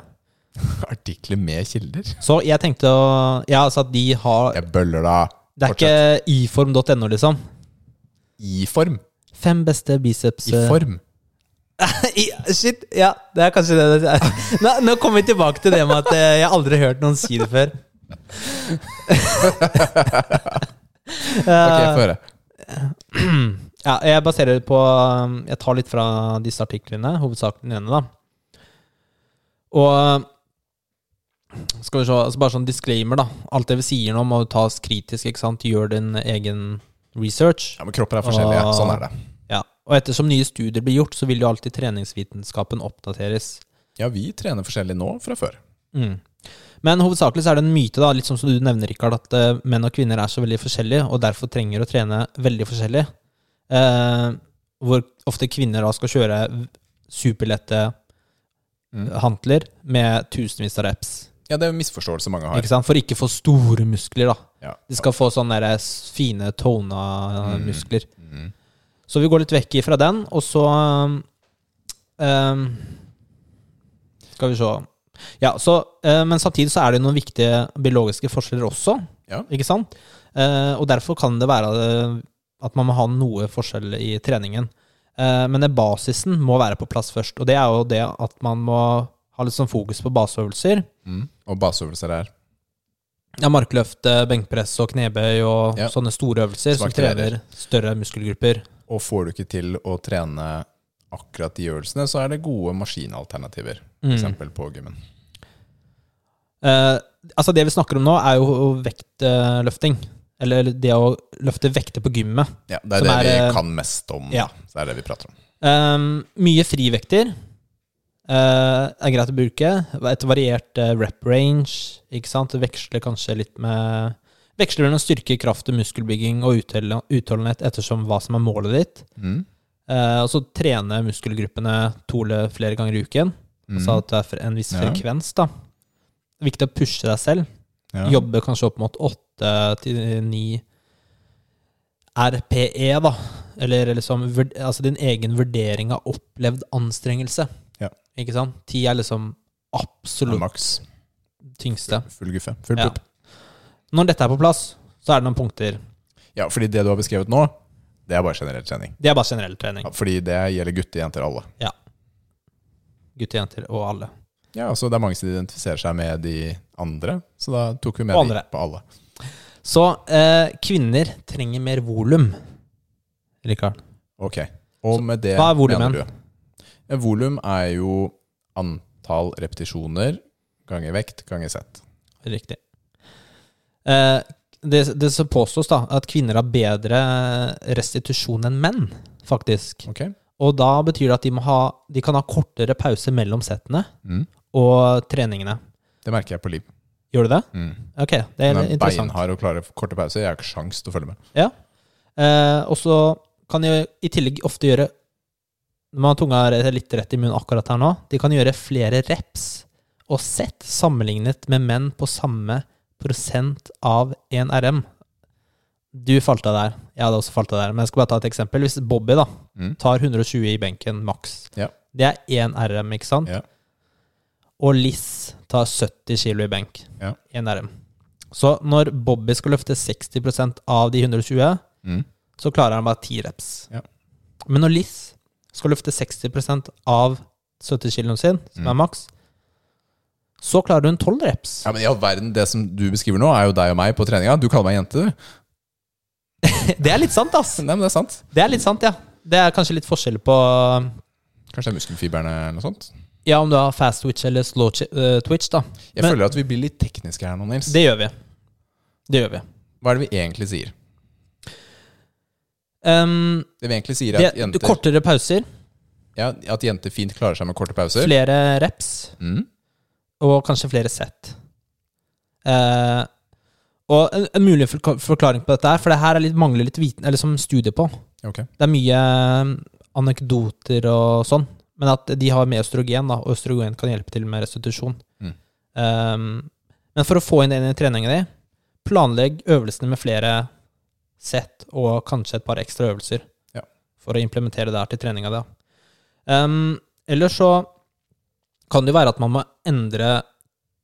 Artikler med kilder? Så jeg tenkte å Ja, altså at de har Jeg bøller da Det er ikke iform.no, liksom. i form. Fem beste biceps I form. I- Shit, [laughs] ja, det er kanskje det det er. [laughs] Nå, nå kommer vi tilbake til det med at eh, jeg aldri har hørt noen si det før. [laughs] Ok, Eh, få høre. [clears throat] ja, jeg baserer det på um, Jeg tar litt fra disse artiklene, hovedsakelig den ene, da. Og skal vi se, altså bare sånn disclaimer, da. Alt det vi sier nå, må tas kritisk. ikke sant? Gjør din egen research. Ja, men Kropper er forskjellige. Ah. Sånn er det. Ja, Og ettersom nye studier blir gjort, så vil jo alltid treningsvitenskapen oppdateres. Ja, vi trener forskjellig nå fra før. Mm. Men hovedsakelig så er det en myte, da, litt sånn som du nevner, Rikard, at eh, menn og kvinner er så veldig forskjellige, og derfor trenger å trene veldig forskjellig. Eh, hvor ofte kvinner da skal kjøre v- superlette Mm. hantler med tusenvis av reps. Ja, det er en misforståelse mange har. Ikke sant? For ikke å få store muskler, da. Ja. De skal få sånne der eh, s- fine tona eh, Mm. muskler. Mm. Så vi går litt vekk ifra den, og så um, um, Skal vi se. Ja, så, eh, men samtidig så er det jo noen viktige biologiske forskjeller også, Ja. ikke sant? Eh, og derfor kan det være eh, at man må ha noe forskjell i treningen. Eh, men det basisen må være på plass først, og det er jo det at man må ha litt sånn fokus på baseøvelser. Mm. Og baseøvelser er Ja, markløft, eh, benkpress og knebøy og Ja. sånne store øvelser som Svake krever større muskelgrupper. Og får du ikke til å trene akkurat de øvelsene, så er det gode maskinalternativer. For Mm. eksempel på gymmen. Eh, altså Det vi snakker om nå, er jo vektløfting. Eller det å løfte vekter på gymmet. Ja, det er Som det er, eh, vi kan mest om. ja. Så er det vi prater om. Ehm, mye frivekter eh, er greit å bruke. Et variert eh, rep range. ikke sant? Veksle kanskje litt med Veksle mellom styrke, kraft og muskelbygging og uthel- utholdenhet ettersom hva som er målet ditt. Mm. Eh, og så trene muskelgruppene to eller flere ganger i uken. Mm. Altså at det er en viss Ja. frekvens, da. Viktig å pushe deg selv. Ja. Jobbe kanskje opp mot 8 til 9 RPE, E, da. Eller liksom vurd- altså din egen vurdering av opplevd anstrengelse. Ja. Ikke sant? 10 er liksom absolutt Maks. tyngste. Full guffe. Full Ja. pupp. Når dette er på plass, så er det noen punkter. Ja, fordi det du har beskrevet nå, det er bare generell trening. Det er bare generell trening. Ja, fordi det gjelder gutter, jenter, alle. Gutter, jenter og alle. Ja, altså Det er mange som identifiserer seg med de andre, så da tok vi med Og de andre. på alle. Så eh, kvinner trenger mer volum. Rikard. Ok, Og med det hva er volumen? mener du? Ja, volum er jo antall repetisjoner ganger vekt ganger sett. Riktig. Eh, det, det så påstås da at kvinner har bedre restitusjon enn menn, faktisk. Ok? Og da betyr det at de, må ha, de kan ha kortere pause mellom settene Mm. og treningene. Det merker jeg på Liv. Gjør du det? Mm. Ok, Hun det er er interessant. beinhard og klarer korte pauser. Jeg har ikke sjans til å følge med. Eh, og så kan de i tillegg ofte gjøre Når man har tunga re- litt rett i munnen akkurat her nå, de kan gjøre flere reps og sett sammenlignet med menn på samme prosent av 1 RM. Du falt av der. Jeg hadde også falt av der. Men jeg skal bare ta et eksempel. Hvis Bobby da Mm. tar 120 i benken maks, Ja. det er 1 RM, ikke sant? Ja. Og Liss tar 70 kilo i benk. Ja. 1 RM. Så når Bobby skal løfte 60 av de 120, Mm. så klarer han bare 10 reps. Ja. Men når Liss skal løfte 60 av 70 kiloen sin, som Mm. er maks, Så klarer hun 12 reps. Ja, men i all verden, Det som du beskriver nå, er jo deg og meg på treninga. Du kaller meg jente, du. [laughs] Det er litt sant, ass. Nei, men det er sant. Det er litt sant, ja. Det er kanskje litt forskjell på Kanskje det er muskelfiberne eller noe sånt. Ja, om du har fast twitch eller slow chi- eh, twitch, da. Jeg Men- føler at vi blir litt tekniske her nå, Nils. Det gjør vi. Det gjør vi. Hva er det vi egentlig sier? Ehm, Det vi egentlig sier, er det, at jenter, kortere pauser, ja, at jenter fint klarer seg med korte pauser. flere reps Mm. og kanskje flere sett. Eh, og en, en mulig forka- forklaring på dette, her, for det her er litt, mangler litt viten, eller som studie på. Ok. Det er mye eh, anekdoter og sånn, men at de har med østrogen, da, og østrogen kan hjelpe til med restitusjon. Mm. Ehm, men for å få inn det inn i treningen din, planlegg øvelsene med flere sett og kanskje et par ekstra øvelser Ja. for å implementere det her til treninga di. Um, ellers så kan det jo være at man må endre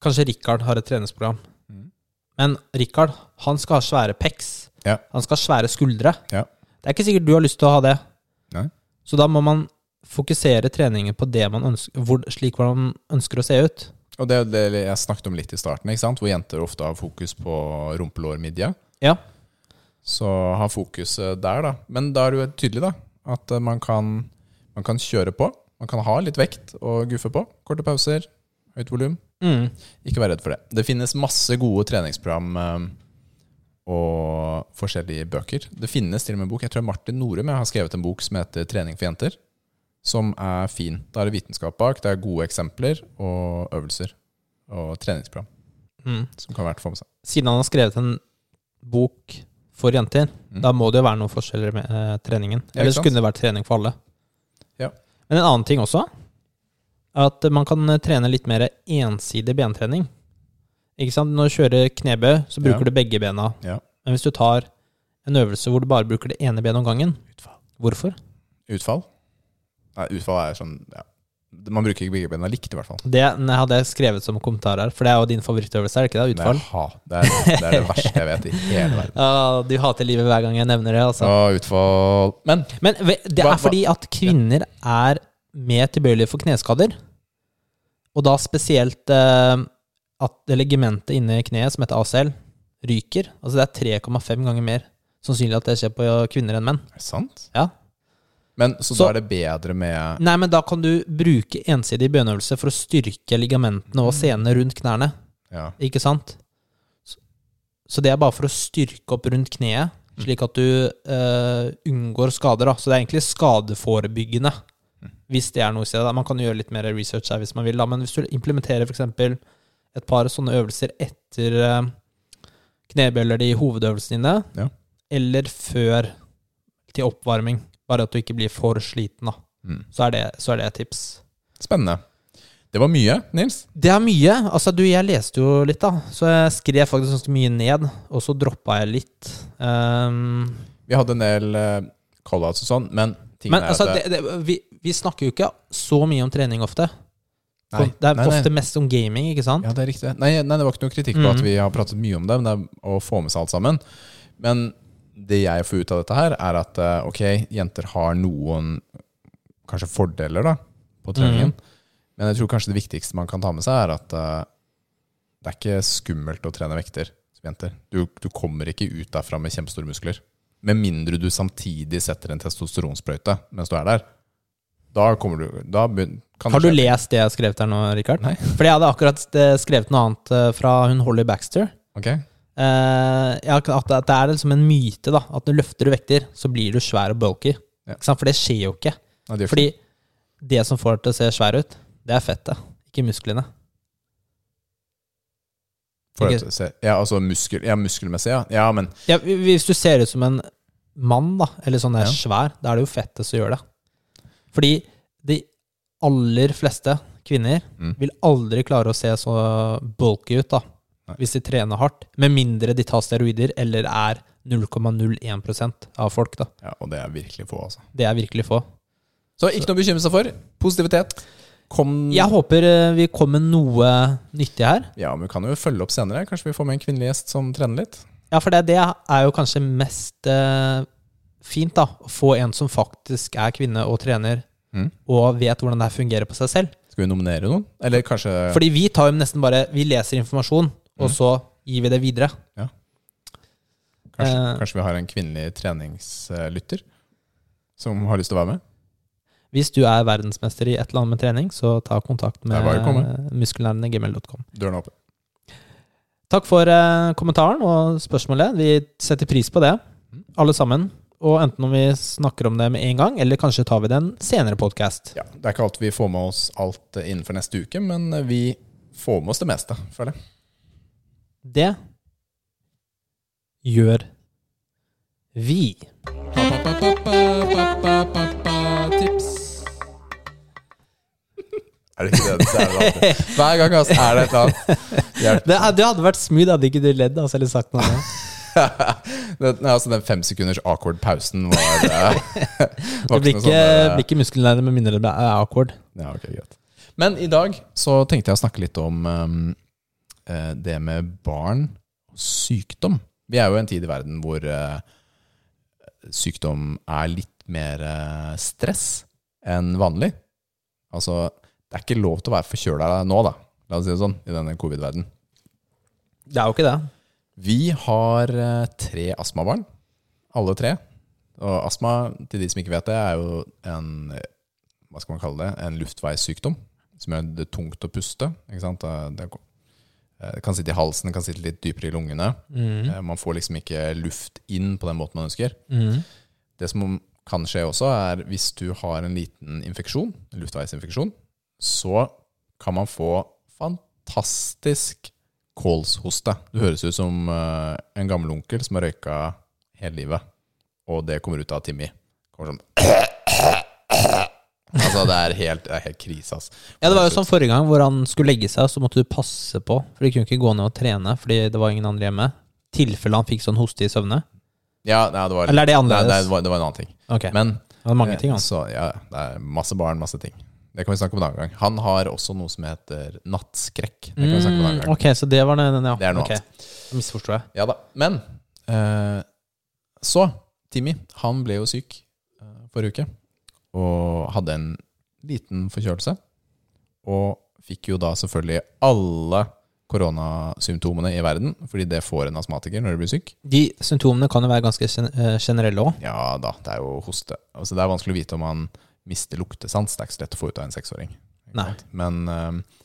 Kanskje Richard har et treningsprogram. Mm. Men Richard, han skal ha svære pecs. Ja. Han skal ha svære skuldre. Ja. Det er ikke sikkert du har lyst til å ha det. Nei. Så da må man fokusere treningen på det man ønsker, hvor, slik hvordan man ønsker å se ut. Og det, er jo det jeg snakket om litt i starten, ikke sant? hvor jenter ofte har fokus på rumpelår midje. Ja. Så ha fokuset der, da. Men da er det jo tydelig, da, at eh, man kan, man kan kjøre på. Man kan ha litt vekt å guffe på. Korte pauser, høyt volum. Mm. Ikke vær redd for det. Det finnes masse gode treningsprogram eh, og forskjellige bøker. Det finnes til og med en bok. Jeg tror Martin Norum jeg har skrevet en bok som heter 'Trening for jenter', som er fin. Da er det vitenskap bak, det er gode eksempler og øvelser og treningsprogram Mm. som kan være til å få med seg. Siden han har skrevet en bok for jenter, Mm. da må det jo være noen forskjeller med eh, treningen. Ja, ikke Ellers sant? kunne det vært trening for alle. Ja. Men en annen ting også, er at man kan eh, trene litt mer ensidig bentrening. Ikke sant? Når du kjører knebøy, så bruker Ja. du begge bena. Ja. Men hvis du tar en øvelse hvor du bare bruker det ene benet om gangen, hvorfor? Utfall? Nei, utfall er sånn ja. Man bruker ikke begge bena likt, i hvert fall. Det nei, hadde jeg skrevet som kommentar her, for det er jo din favorittøvelse, er det ikke det? Utfall. Nei, ha, det, er, det er det verste jeg vet i hele [laughs] verden. Ja, du hater livet hver gang jeg nevner det, altså. Å, utfall Men Men ve- det Hva- er fordi at kvinner er mer tilbøyelige for kneskader. Og da spesielt eh, at det ligementet inne i kneet, som heter ACL, ryker. Altså det er 3,5 ganger mer sannsynlig at det skjer på kvinner enn menn. Er det sant? Ja. Men, så, Så- da er det bedre med Nei, men da kan du bruke ensidig bønøvelse for å styrke ligamentene Mm. og senene rundt knærne. ja. Ikke sant? Så- Så det er bare for å styrke opp rundt kneet, slik at du eh, unngår skader. Da. Så det er egentlig skadeforebyggende, hvis det er noe i stedet. Man kan jo gjøre litt mer research her hvis man vil, da. men hvis du implementerer f.eks. et par sånne øvelser etter eh, knebøyler i hovedøvelsene dine, Ja. eller før til oppvarming, bare at du ikke blir for sliten, da. Mm. Så, er det, så er det et tips. Spennende. Det var mye, Nils. Det er mye. Altså, du, jeg leste jo litt, da. Så jeg skrev faktisk ganske mye ned, og så droppa jeg litt. Ehm, Vi hadde en del eh, call-outs og sånn, men tingene men altså, er at eh, det, det, vi, vi snakker jo ikke så mye om trening ofte. Nei, det er nei, nei. ofte mest om gaming, ikke sant? Ja, det er riktig. Nei, nei, det var ikke noe kritikk på Mhm. at vi har pratet mye om det, men det er å få med seg alt sammen. Men det jeg får ut av dette her, er at eh, ok, jenter har noen kanskje fordeler da, på Mhm. treningen. Men jeg tror kanskje det viktigste man kan ta med seg, er at eh, det er ikke skummelt å trene vekter som jenter. Du, du kommer ikke ut derfra med kjempestore muskler. Med mindre du samtidig setter en testosteronsprøyte mens du er der. Da kommer du da begyn- kan det Har du skje. lest det jeg har skrevet her nå, Richard? Nei. For jeg hadde akkurat eh, skrevet noe annet eh, fra hun Holly Baxter. Ok. Eh, ja, at at det er liksom en myte, da. At når du løfter vekter, så blir du svær og bulky. Ja. Ikke sant? For det skjer jo ikke. Nei, det gjør ikke Fordi det som får deg til å se svær ut, det er fettet, ikke musklene. For Ikke- at, se, ja, altså muskel, ja, muskelmessig, ja. ja men Ja, hvis du ser ut som en mann, da, eller sånn der Ja. svær, da er det jo fettet som gjør det. Fordi de aller fleste kvinner Mm. vil aldri klare å se så bulky ut, da, Nei. hvis de trener hardt. Med mindre de tar steroider eller er 0,01 av folk, da. ja, Og det er virkelig få, altså. Det er virkelig få. Så ikke noe å bekymre seg for. Positivitet. Kom Jeg håper eh, vi kom med noe nyttig her. Ja, men vi kan jo følge opp senere. Kanskje vi får med en kvinnelig gjest som trener litt. Ja, for det, det er jo kanskje mest eh, fint, da. Å få en som faktisk er kvinne og trener, Mm. og vet hvordan det her fungerer på seg selv. Skal vi nominere noen? Eller kanskje Fordi vi tar jo nesten bare Vi leser informasjon, og Mm. så gir vi det videre. Kanskje, Eh. kanskje vi har en kvinnelig treningslytter som har lyst til å være med? Hvis du er verdensmester i et eller annet med trening, så ta kontakt med Det er bare å komme. muskelnerdene.gmail.com. Døren er åpen. Takk for eh, kommentaren og spørsmålet. Vi setter pris på det, Mm. alle sammen. Og enten om vi snakker om det med en gang, eller kanskje tar vi det i en senere podkast. Ja, det er ikke alt vi får med oss alt eh, innenfor neste uke, men vi får med oss det meste, føler jeg. Det gjør vi. Er det ikke det? det er det alltid. Hver gang ass, er det et eller annet. Hjelp. Det, det hadde vært smooth, hadde ikke du ledd altså, eller sagt noe [laughs] annet. Den, nei, altså, den fem sekunders awkward pausen var, eh, Det var blir noe ikke, sånn, eh, blir ikke muskelnære med mindre det er awkward. Ja, ok, greit. Men i dag så tenkte jeg å snakke litt om ehm, eh, det med barn og sykdom. Vi er jo i en tid i verden hvor eh, sykdom er litt mer eh, stress enn vanlig. Altså, det er ikke lov til å være forkjøla nå, da. La oss si det sånn, i denne covid-verden. Det er jo ikke det. Vi har eh, tre astmabarn, alle tre. Og astma, til de som ikke vet det, er jo en eh, hva skal man kalle det, en luftveissykdom. Som gjør det tungt å puste. ikke sant? Det- Det eh, det kan sitte i halsen, det kan sitte litt dypere i lungene. Eh, Man får liksom ikke luft inn på den måten man ønsker. Det som kan skje også, er hvis du har en liten infeksjon, en luftveisinfeksjon, så kan man få fantastisk kålshoste. Du høres ut som eh, en gammel onkel som har røyka hele livet, og det kommer ut av Timmy. Kommer sånn [coughs] Altså, det er helt, det er helt krise, ass. Ja, det var jo sånn forrige gang hvor han skulle legge seg, så måtte du passe på. For de kunne ikke gå ned og trene fordi det var ingen andre hjemme. Tilfelle han fikk sånn hoste i søvne. Ja, nei, det var, Eller er det nei, annerledes? nei, det, var, det var en annen ting. Ok, Men det var mange ting, Eh, Så, altså. ja, det er masse barn, masse ting. Det kan vi snakke om en annen gang. Han har også noe som heter nattskrekk. Det kan vi snakke om en annen Mm, gang. ok, så det var den, den, ja. Det er noe Ok. Da misforstod jeg. Ja da. Men eh, så Timmy, han ble jo syk eh, forrige uke. Og hadde en liten forkjølelse. Og fikk jo da selvfølgelig alle koronasymptomene i verden, fordi det får en astmatiker når du blir syk. De symptomene kan jo være ganske gen eh, generelle òg. Ja da, det er jo hoste. Altså, det er vanskelig å vite om han mister luktesans. Det er ikke så lett å få ut av en seksåring. Ikke Nei. sant? Men eh,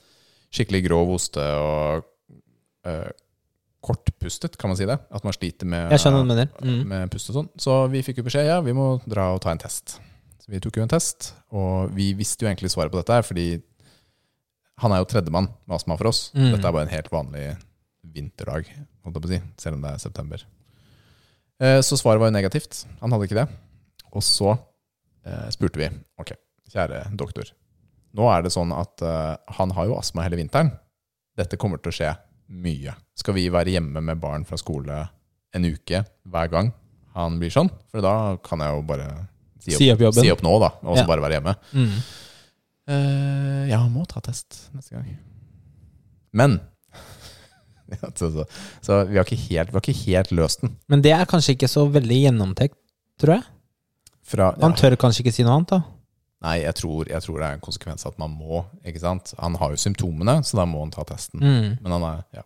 skikkelig grov hoste og eh, kortpustet, kan man si det? At man sliter med, Jeg skjønner hva du mener. Mm. med pust og sånn. Så vi fikk jo beskjed ja, vi må dra og ta en test. Så vi tok jo en test, og vi visste jo egentlig svaret på dette her, fordi han er jo tredjemann med astma for oss. Mm. Dette er bare en helt vanlig vinterdag, holdt jeg på å si, selv om det er september. Eh, Så svaret var jo negativt. Han hadde ikke det. Og så eh, spurte vi Ok, kjære doktor. Nå er det sånn at eh, han har jo astma hele vinteren. Dette kommer til å skje mye. Skal vi være hjemme med barn fra skole en uke hver gang han blir sånn? For da kan jeg jo bare si opp, Si opp jobben. si opp nå, da, og så Ja. bare være hjemme. Mm. Eh, ja, må ta test neste gang. Men [laughs] ja, så, så, så vi har ikke helt, vi har ikke helt løst den. Men det er kanskje ikke så veldig gjennomtenkt, tror jeg. Fra, ja. Han tør kanskje ikke si noe annet, da. Nei, jeg tror, jeg tror det er en konsekvens at man må. ikke sant? Han har jo symptomene, så da må han ta testen. Mm. Men han er, ja.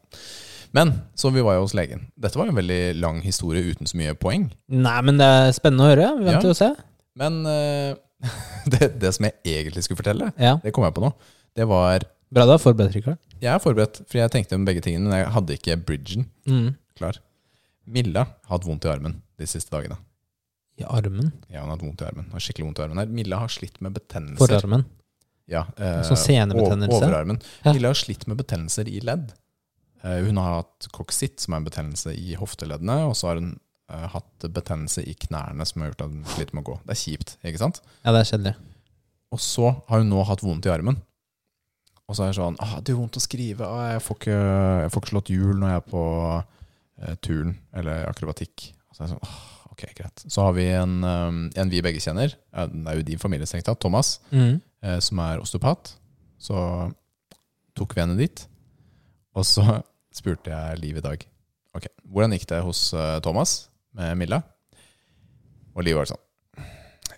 Men, så vi var jo hos legen. Dette var en veldig lang historie uten så mye poeng. Nei, men det er spennende å høre. Vi Ja. venter og ser. Men eh, [laughs] det, det som jeg egentlig skulle fortelle, Ja. det kom jeg på nå, det var Bra du har forberedt deg. Rikard. Jeg er forberedt, for jeg tenkte om begge tingene, men jeg hadde ikke bridgen Mm. klar. Milla har hatt vondt i armen de siste dagene. I armen. Ja, hun har hatt vondt i armen. Har skikkelig vondt i armen her. Milla har slitt med betennelser. Forarmen. Ja, eh, Sånn senebetennelse? over- Overarmen. Ja. Milla har slitt med betennelser i ledd. Eh, hun har hatt koksitt, som er en betennelse i hofteleddene, og så har hun eh, hatt betennelse i knærne, som har gjort at hun sliter med å gå. Det er kjipt, ikke sant? Ja, det er kjedelig. Og så har hun nå hatt vondt i armen. Og så er det sånn ah, 'Det gjør vondt å skrive. Ah, jeg, får ikke, jeg får ikke slått hjul når jeg er på eh, turn eller akrobatikk.' Og så er det sånn, ah, ok, greit. Så har vi en, eh, en vi begge kjenner. Ja, Den er jo din familie, strengt tatt. Thomas Mm. eh, som er osteopat. Så tok vi henne dit, og så [laughs] spurte jeg Liv i dag. Ok, Hvordan gikk det hos eh, Thomas med Milla? Og Liv var sånn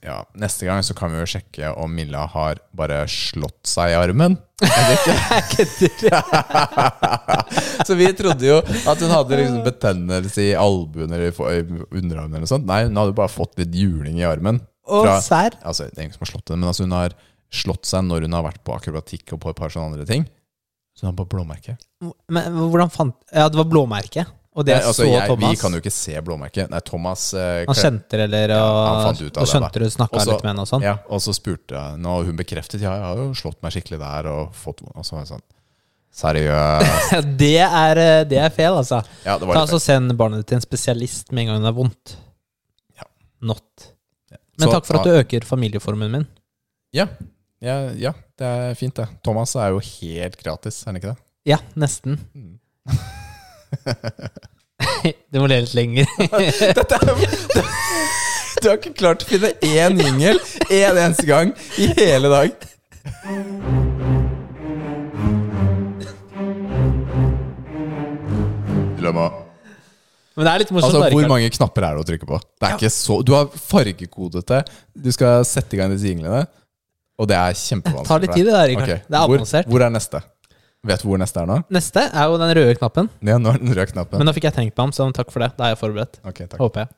Ja, Neste gang så kan vi jo sjekke om Milla har bare slått seg i armen. Jeg vet ikke. [laughs] så vi trodde jo at hun hadde liksom betennelse i albuen eller for- i underarmen. eller noe sånt. Nei, hun hadde bare fått litt juling i armen. Og Fra- serr. Altså, det er ingen som har slått henne, men altså, hun har slått seg når hun har vært på akrobatikk og på et par sånne andre ting. Så hun har bare blåmerke. Men hvordan fant Ja, det var blåmerket. Og det Nei, altså, så jeg, Thomas. Vi kan jo ikke se blåmerket. Nei, Thomas eh, Han kjente det, eller og, han fant ut av og det, da. skjønte du snakka Også- litt med henne og [laughs] sånn. Ja, og så spurte jeg henne, og hun bekreftet ja, jeg har jo slått meg skikkelig der. Og, fått, og så var jeg sånn Seriøst? det, er, eh, det er fel, altså. Ja, [laughs] det var litt Ta altså feil. Send barnet ditt til en spesialist med en gang det er vondt. Ja. Not. Men Så takk for ta- at du øker familieformen min. ja, ja, ja, det er fint, det. Thomas er jo helt gratis, er han ikke det? Ja, nesten. [laughs] [laughs] Mm. Du må le litt lenger. [laughs] Dette er jo Du har ikke klart å finne én jingel én eneste gang i hele dag. Dilemma. Men det er litt morsomt. Altså, da, hvor Rikard. mange knapper er det å trykke på? Det er ikke så, du har fargekodet det. Du skal sette i gang disse jinglene, og det er kjempevanskelig. Tar litt for deg. tid, det der, Rikard. Ok, Det er avansert. Hvor, hvor er neste? Vet du hvor neste er nå? Neste er jo den røde knappen. Ja, nå er den røde knappen. Men nå fikk jeg tenkt på ham, så takk for det. Da er jeg forberedt. Ok, takk. Håper jeg.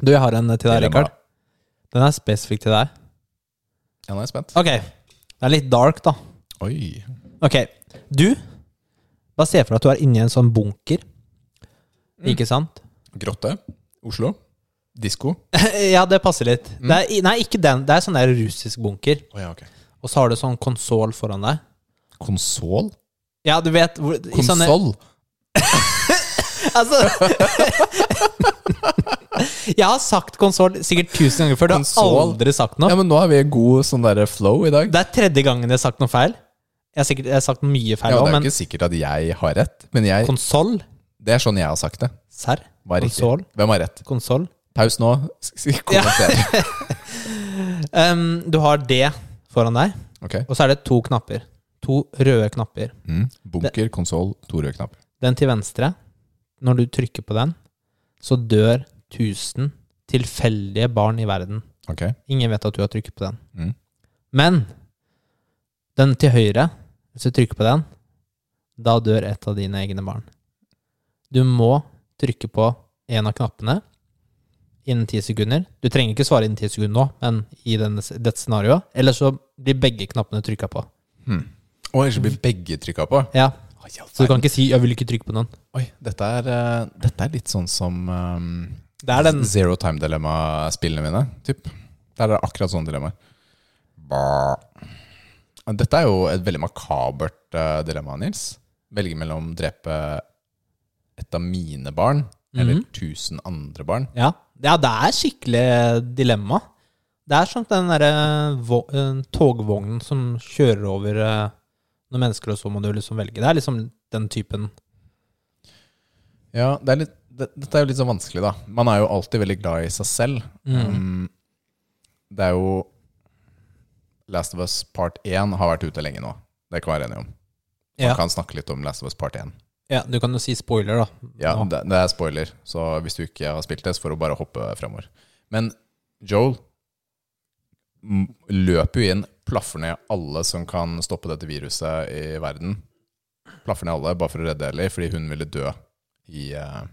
Du, jeg har en til deg, Dilemma. Rikard. Den er spesifikk til deg. Ja, nå er jeg spent. Ok. Det er litt dark, da. Oi. Ok. Du, bare se for deg at du er inni en sånn bunker. Mm. Ikke sant? [laughs] Grotte. Oslo. Disko. ja, det passer litt. Mm. Det er, i- nei, ikke den. Det er sånn der russisk bunker. Oh, ja, ok. Og så har du sånn konsol foran deg. Konsol? Ja, du vet hvor, i sånne- Konsol? [laughs] Altså [laughs] Jeg har sagt konsol sikkert tusen ganger før. Du har Konsol? aldri sagt noe. Ja, men nå har vi god sånn derre flow i dag. Det er tredje gangen jeg har sagt noe feil. Jeg har, sikkert, jeg har sagt mye feil Ja, det er òg, jo men ikke sikkert at jeg har rett, men jeg, konsoll? det er sånn jeg har sagt det. Serr? Hva er riktig? Konsol? Hvem har rett? Konsol? Paus nå. Skal vi kommentere? Em, du har det foran deg, Ok. og så er det to knapper. To røde knapper. Mm. Bunker, konsoll, to røde knapper. Den til venstre, når du trykker på den, så dør 1000 tilfeldige barn i verden. Ok. Ingen vet at du har trykket på den. Mm. Men den til høyre, hvis du trykker på den, da dør et av dine egne barn. Du må trykke på en av knappene innen ti sekunder. Du trenger ikke svare innen ti sekunder nå, men i denne, dette scenarioet. Eller så blir begge knappene trykka på. Og ellers blir begge trykka på. Ja, Oi, i all Så du verden. kan ikke si 'jeg vil ikke trykke på noen'. Oi, dette er, eh, dette er litt sånn som ehm, Det er den Zero Time-dilemma-spillene mine. Typ. Der er det akkurat sånne dilemmaer. Bah. Dette er jo et veldig makabert eh, dilemma, Nils. Velge mellom drepe et av mine barn Mhm. eller tusen andre barn. Ja, ja det er skikkelig dilemma. Det er som den derre vo- eh, togvognen som kjører over eh, noen mennesker, og så må du liksom velge. Det er liksom den typen Ja, det er litt, det, Dette er jo litt så vanskelig, da. Man er jo alltid veldig glad i seg selv. Mhm. Um, det er jo Last of Us part 1 har vært ute lenge nå. Det kan vi være enige om. Man Ja. kan snakke litt om Last of Us part 1. Ja, du kan jo si spoiler, da. Ja, Nå. det, det er spoiler, så hvis du ikke har spilt det, så får du bare hoppe fremover. Men Joel m- løper jo inn, plaffer ned alle som kan stoppe dette viruset i verden. Plaffer ned alle bare for å redde Ellie, fordi hun ville dø i eh,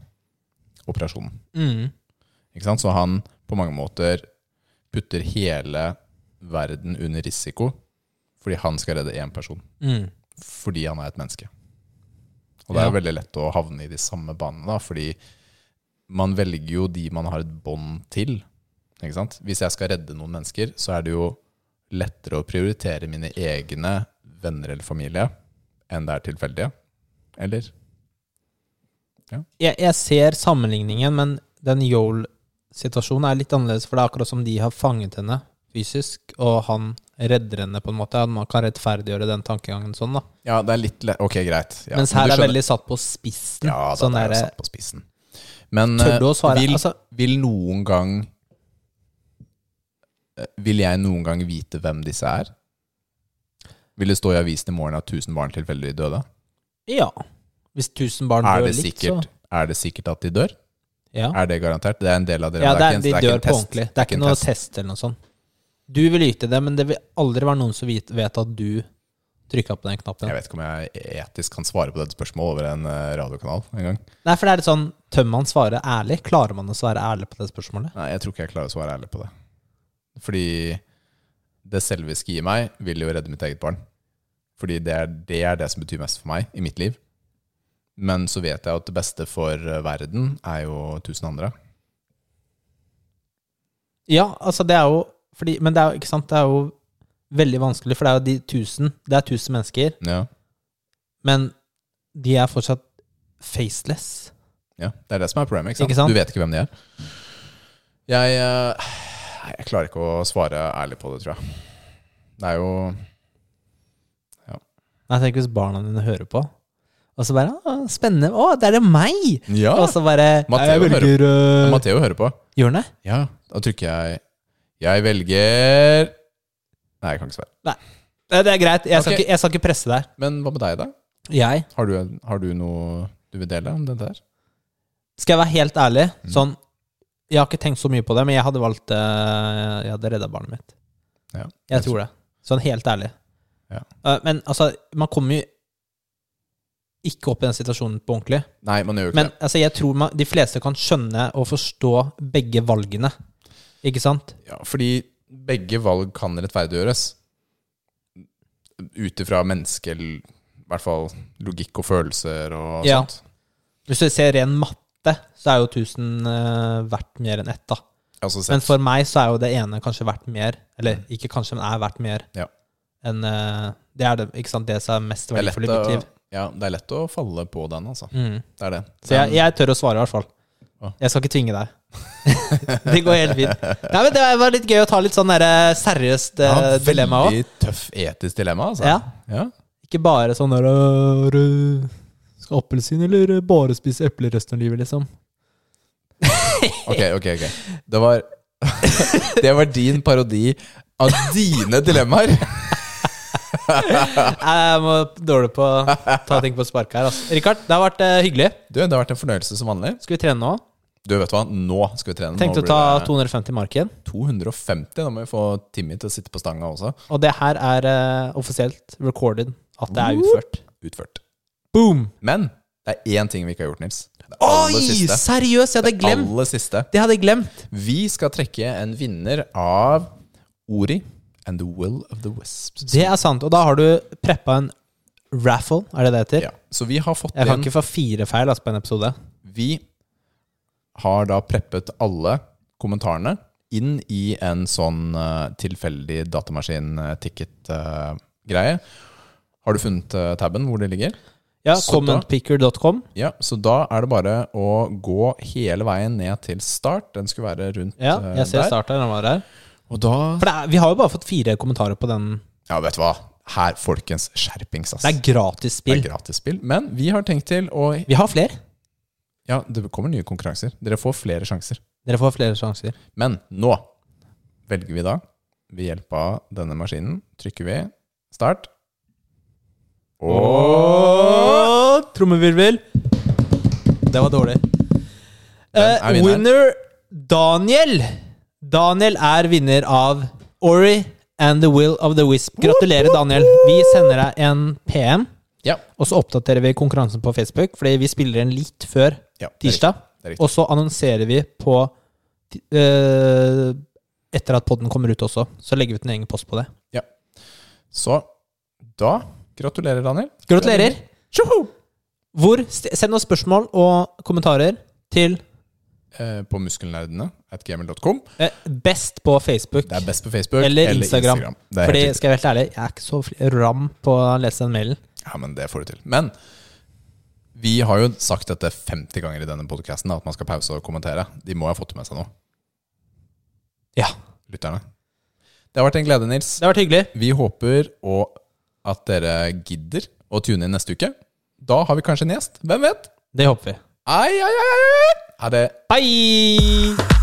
operasjonen. Mm. Ikke sant? Så han på mange måter putter hele verden under risiko fordi han skal redde én person. Mm. Fordi han er et menneske. Og det er Ja. jo veldig lett å havne i de samme banene, da, fordi man velger jo de man har et bånd til. Ikke sant? Hvis jeg skal redde noen mennesker, så er det jo lettere å prioritere mine egne venner eller familie enn det er tilfeldige. Eller? Jeg, jeg ser sammenligningen, men den Yole-situasjonen er litt annerledes, for det er akkurat som de har fanget henne fysisk, og han redder henne på en måte. Man kan rettferdiggjøre den tankegangen sånn, da. Ja, det er litt le Ok, greit. Ja, Mens men her du er skjønner- veldig satt på spissen. Ja, sånn det er jo derre- satt på spissen. Men Tør du å svare? eh, Vil, Altså- vil noen gang eh, Vil jeg noen gang vite hvem disse er? Vil det stå i avisen i morgen at 1000 barn tilfeldig døde? Ja. Hvis 1000 barn Er dør det, litt, sikkert, så er det sikkert at de dør? ja. Er det garantert? Det er en del av det. ja, det ikke er, en- de ikke en dør på test. ordentlig. Det er ikke en noe test. test eller noe sånt. Du vil yte det, men det vil aldri være noen som vit- vet at du trykka på den knappen. Jeg vet ikke om jeg etisk kan svare på dette spørsmålet over en eh, radiokanal en gang. Nei, for det er litt sånn Tør man svare ærlig? Klarer man å svare ærlig på det spørsmålet? Nei, jeg tror ikke jeg klarer å svare ærlig på det. Fordi det selviske i meg vil jo redde mitt eget barn. Fordi det er, det er det som betyr mest for meg i mitt liv. Men så vet jeg at det beste for eh, verden er jo tusen andre. Ja, altså, det er jo fordi, Men det er jo, ikke sant, det er jo veldig vanskelig, for det er jo de tusen Det er tusen mennesker, Ja, men de er fortsatt faceless. ja. Det er det som er problemet. Ikke sant? Ikke sant? Du vet ikke hvem de er. Jeg, eh, nei, jeg klarer ikke å svare ærlig på det, tror jeg. Det er jo Nei, tenk hvis barna dine hører på, og så bare å, 'Spennende. Å, det er det meg!' Ja! Og så bare Matteo «Nei, Ah. jeg velger uh, Altså, Matheo hører på. Gjør han det? Ja, da trykker jeg Jeg velger Nei, jeg kan ikke svare. Nei, Det er greit. Jeg skal, Ok. ikke, jeg skal ikke presse deg. Men hva med deg, da? Jeg Har du, har du noe du vil dele om dette her? Skal jeg være helt ærlig, sånn Jeg har ikke tenkt så mye på det, men jeg hadde valgt eh, Jeg hadde redda barnet mitt. Ja. Jeg tror det. Sånn helt ærlig. Ja. Eh, men altså, man kommer jo ikke opp i den situasjonen på ordentlig. Nei, man gjør jo ikke Men altså, jeg tror man, de fleste kan skjønne og forstå begge valgene. Ikke sant? det. Ja, fordi begge valg kan rettferdiggjøres. Ut ifra menneske... I hvert fall logikk og følelser og Ja. sånt. Hvis du ser ren matte, så er jo 1000 eh, verdt mer enn ett, da. Altså, Men sett, for meg så er jo det ene kanskje verdt mer, eller ikke kanskje, men er verdt mer Mm. Ja. enn eh, Det er det, ikke sant, det som er mest det, er lett verdifullt i mitt å, liv. ja, det er lett å falle på den, altså. Mm. Det er det. Så jeg, jeg tør å svare, i hvert fall. Å. Jeg skal ikke tvinge deg. [laughs] det går helt fint. Nei, men Det var litt gøy å ta litt sånn der, eh, seriøst eh, Ja, dilemma òg. Veldig tøff etisk dilemma, altså. Ja. ja. Ikke bare sånn der «Øh, øh, Skal appelsin eller bare spise epler resten av livet, liksom? [laughs] Ok, ok, ok. Det var, [laughs] det var din parodi av dine dilemmaer. Jeg må dårlig på å ta ting på sparket her. Altså. Rikard, det har vært eh, hyggelig. Du, det har vært en fornøyelse som vanlig. Skal vi trene nå? Du, vet du hva, nå skal vi trene. Tenkte nå å ta blir det 250 marken. 250. Da må vi få Timmy til å sitte på stanga også. Og det her er eh, offisielt recorded at det er utført. Utført. Boom! Men det er én ting vi ikke har gjort, Nils. Det er Oi, aller siste. seriøst! Jeg hadde glemt! Aller siste. Det hadde jeg glemt. Vi skal trekke en vinner av Ori and the Will of the Wisps. Det er sant. Og da har du preppa en raffle, er det det heter? Ja, så vi har fått Jeg kan inn ikke få fire feil altså, på en episode. Vi har da preppet alle kommentarene inn i en sånn eh, tilfeldig eh, datamaskin-ticket-greie. Har du funnet eh, tabben hvor det ligger? Ja, Så da- commentpicker.com. Ja, så da er det bare å gå hele veien ned til start. Den skulle være rundt Ja, eh, jeg ser der. starten den var der. Og da For det er, vi har jo bare fått fire kommentarer på den. Ja, vet du hva. Her, folkens, skjerpings, ass. Det er gratis Det er spill. gratis spill. Men vi har tenkt til å Vi har flere. Ja, det kommer nye konkurranser. Dere får flere sjanser. Dere får flere sjanser. Men nå velger vi da, ved hjelp av denne maskinen, trykker vi start. Og Og trommevirvel. Det var dårlig. Hvem Eh, er vinneren? winner Daniel. Daniel er vinner av Ori and the Will of the Wisp. Gratulerer, Daniel. Vi sender deg en PM, Ja. og så oppdaterer vi konkurransen på Facebook, fordi vi spiller den litt før ja det er tirsdag. Det er riktig. Og så annonserer vi på ti- eh, Etter at podden kommer ut også. Så legger vi ut en egen post på det. riktig. Så da gratulerer, Daniel. Gratulerer! Hvor, st- send oss spørsmål og kommentarer til Eh, På muskelnerdene at gmail.com. eh, Best på Facebook. Det er best på Facebook Eller Instagram. Det er Fordi, helt riktig. skal jeg være helt ærlig, jeg er ikke så fl- ram på å lese den mailen. Ja, men det får du til. Men vi har jo sagt dette 50 ganger i denne podkasten, at man skal pause og kommentere. De må ha fått med seg noe, Ja. lytterne. Det har vært en glede, Nils. Det har vært hyggelig. Vi håper og at dere gidder å tune inn neste uke. Da har vi kanskje en gjest. Hvem vet? Det håper vi. Ai, ai, ai, ai, ai. Ha det. Hei!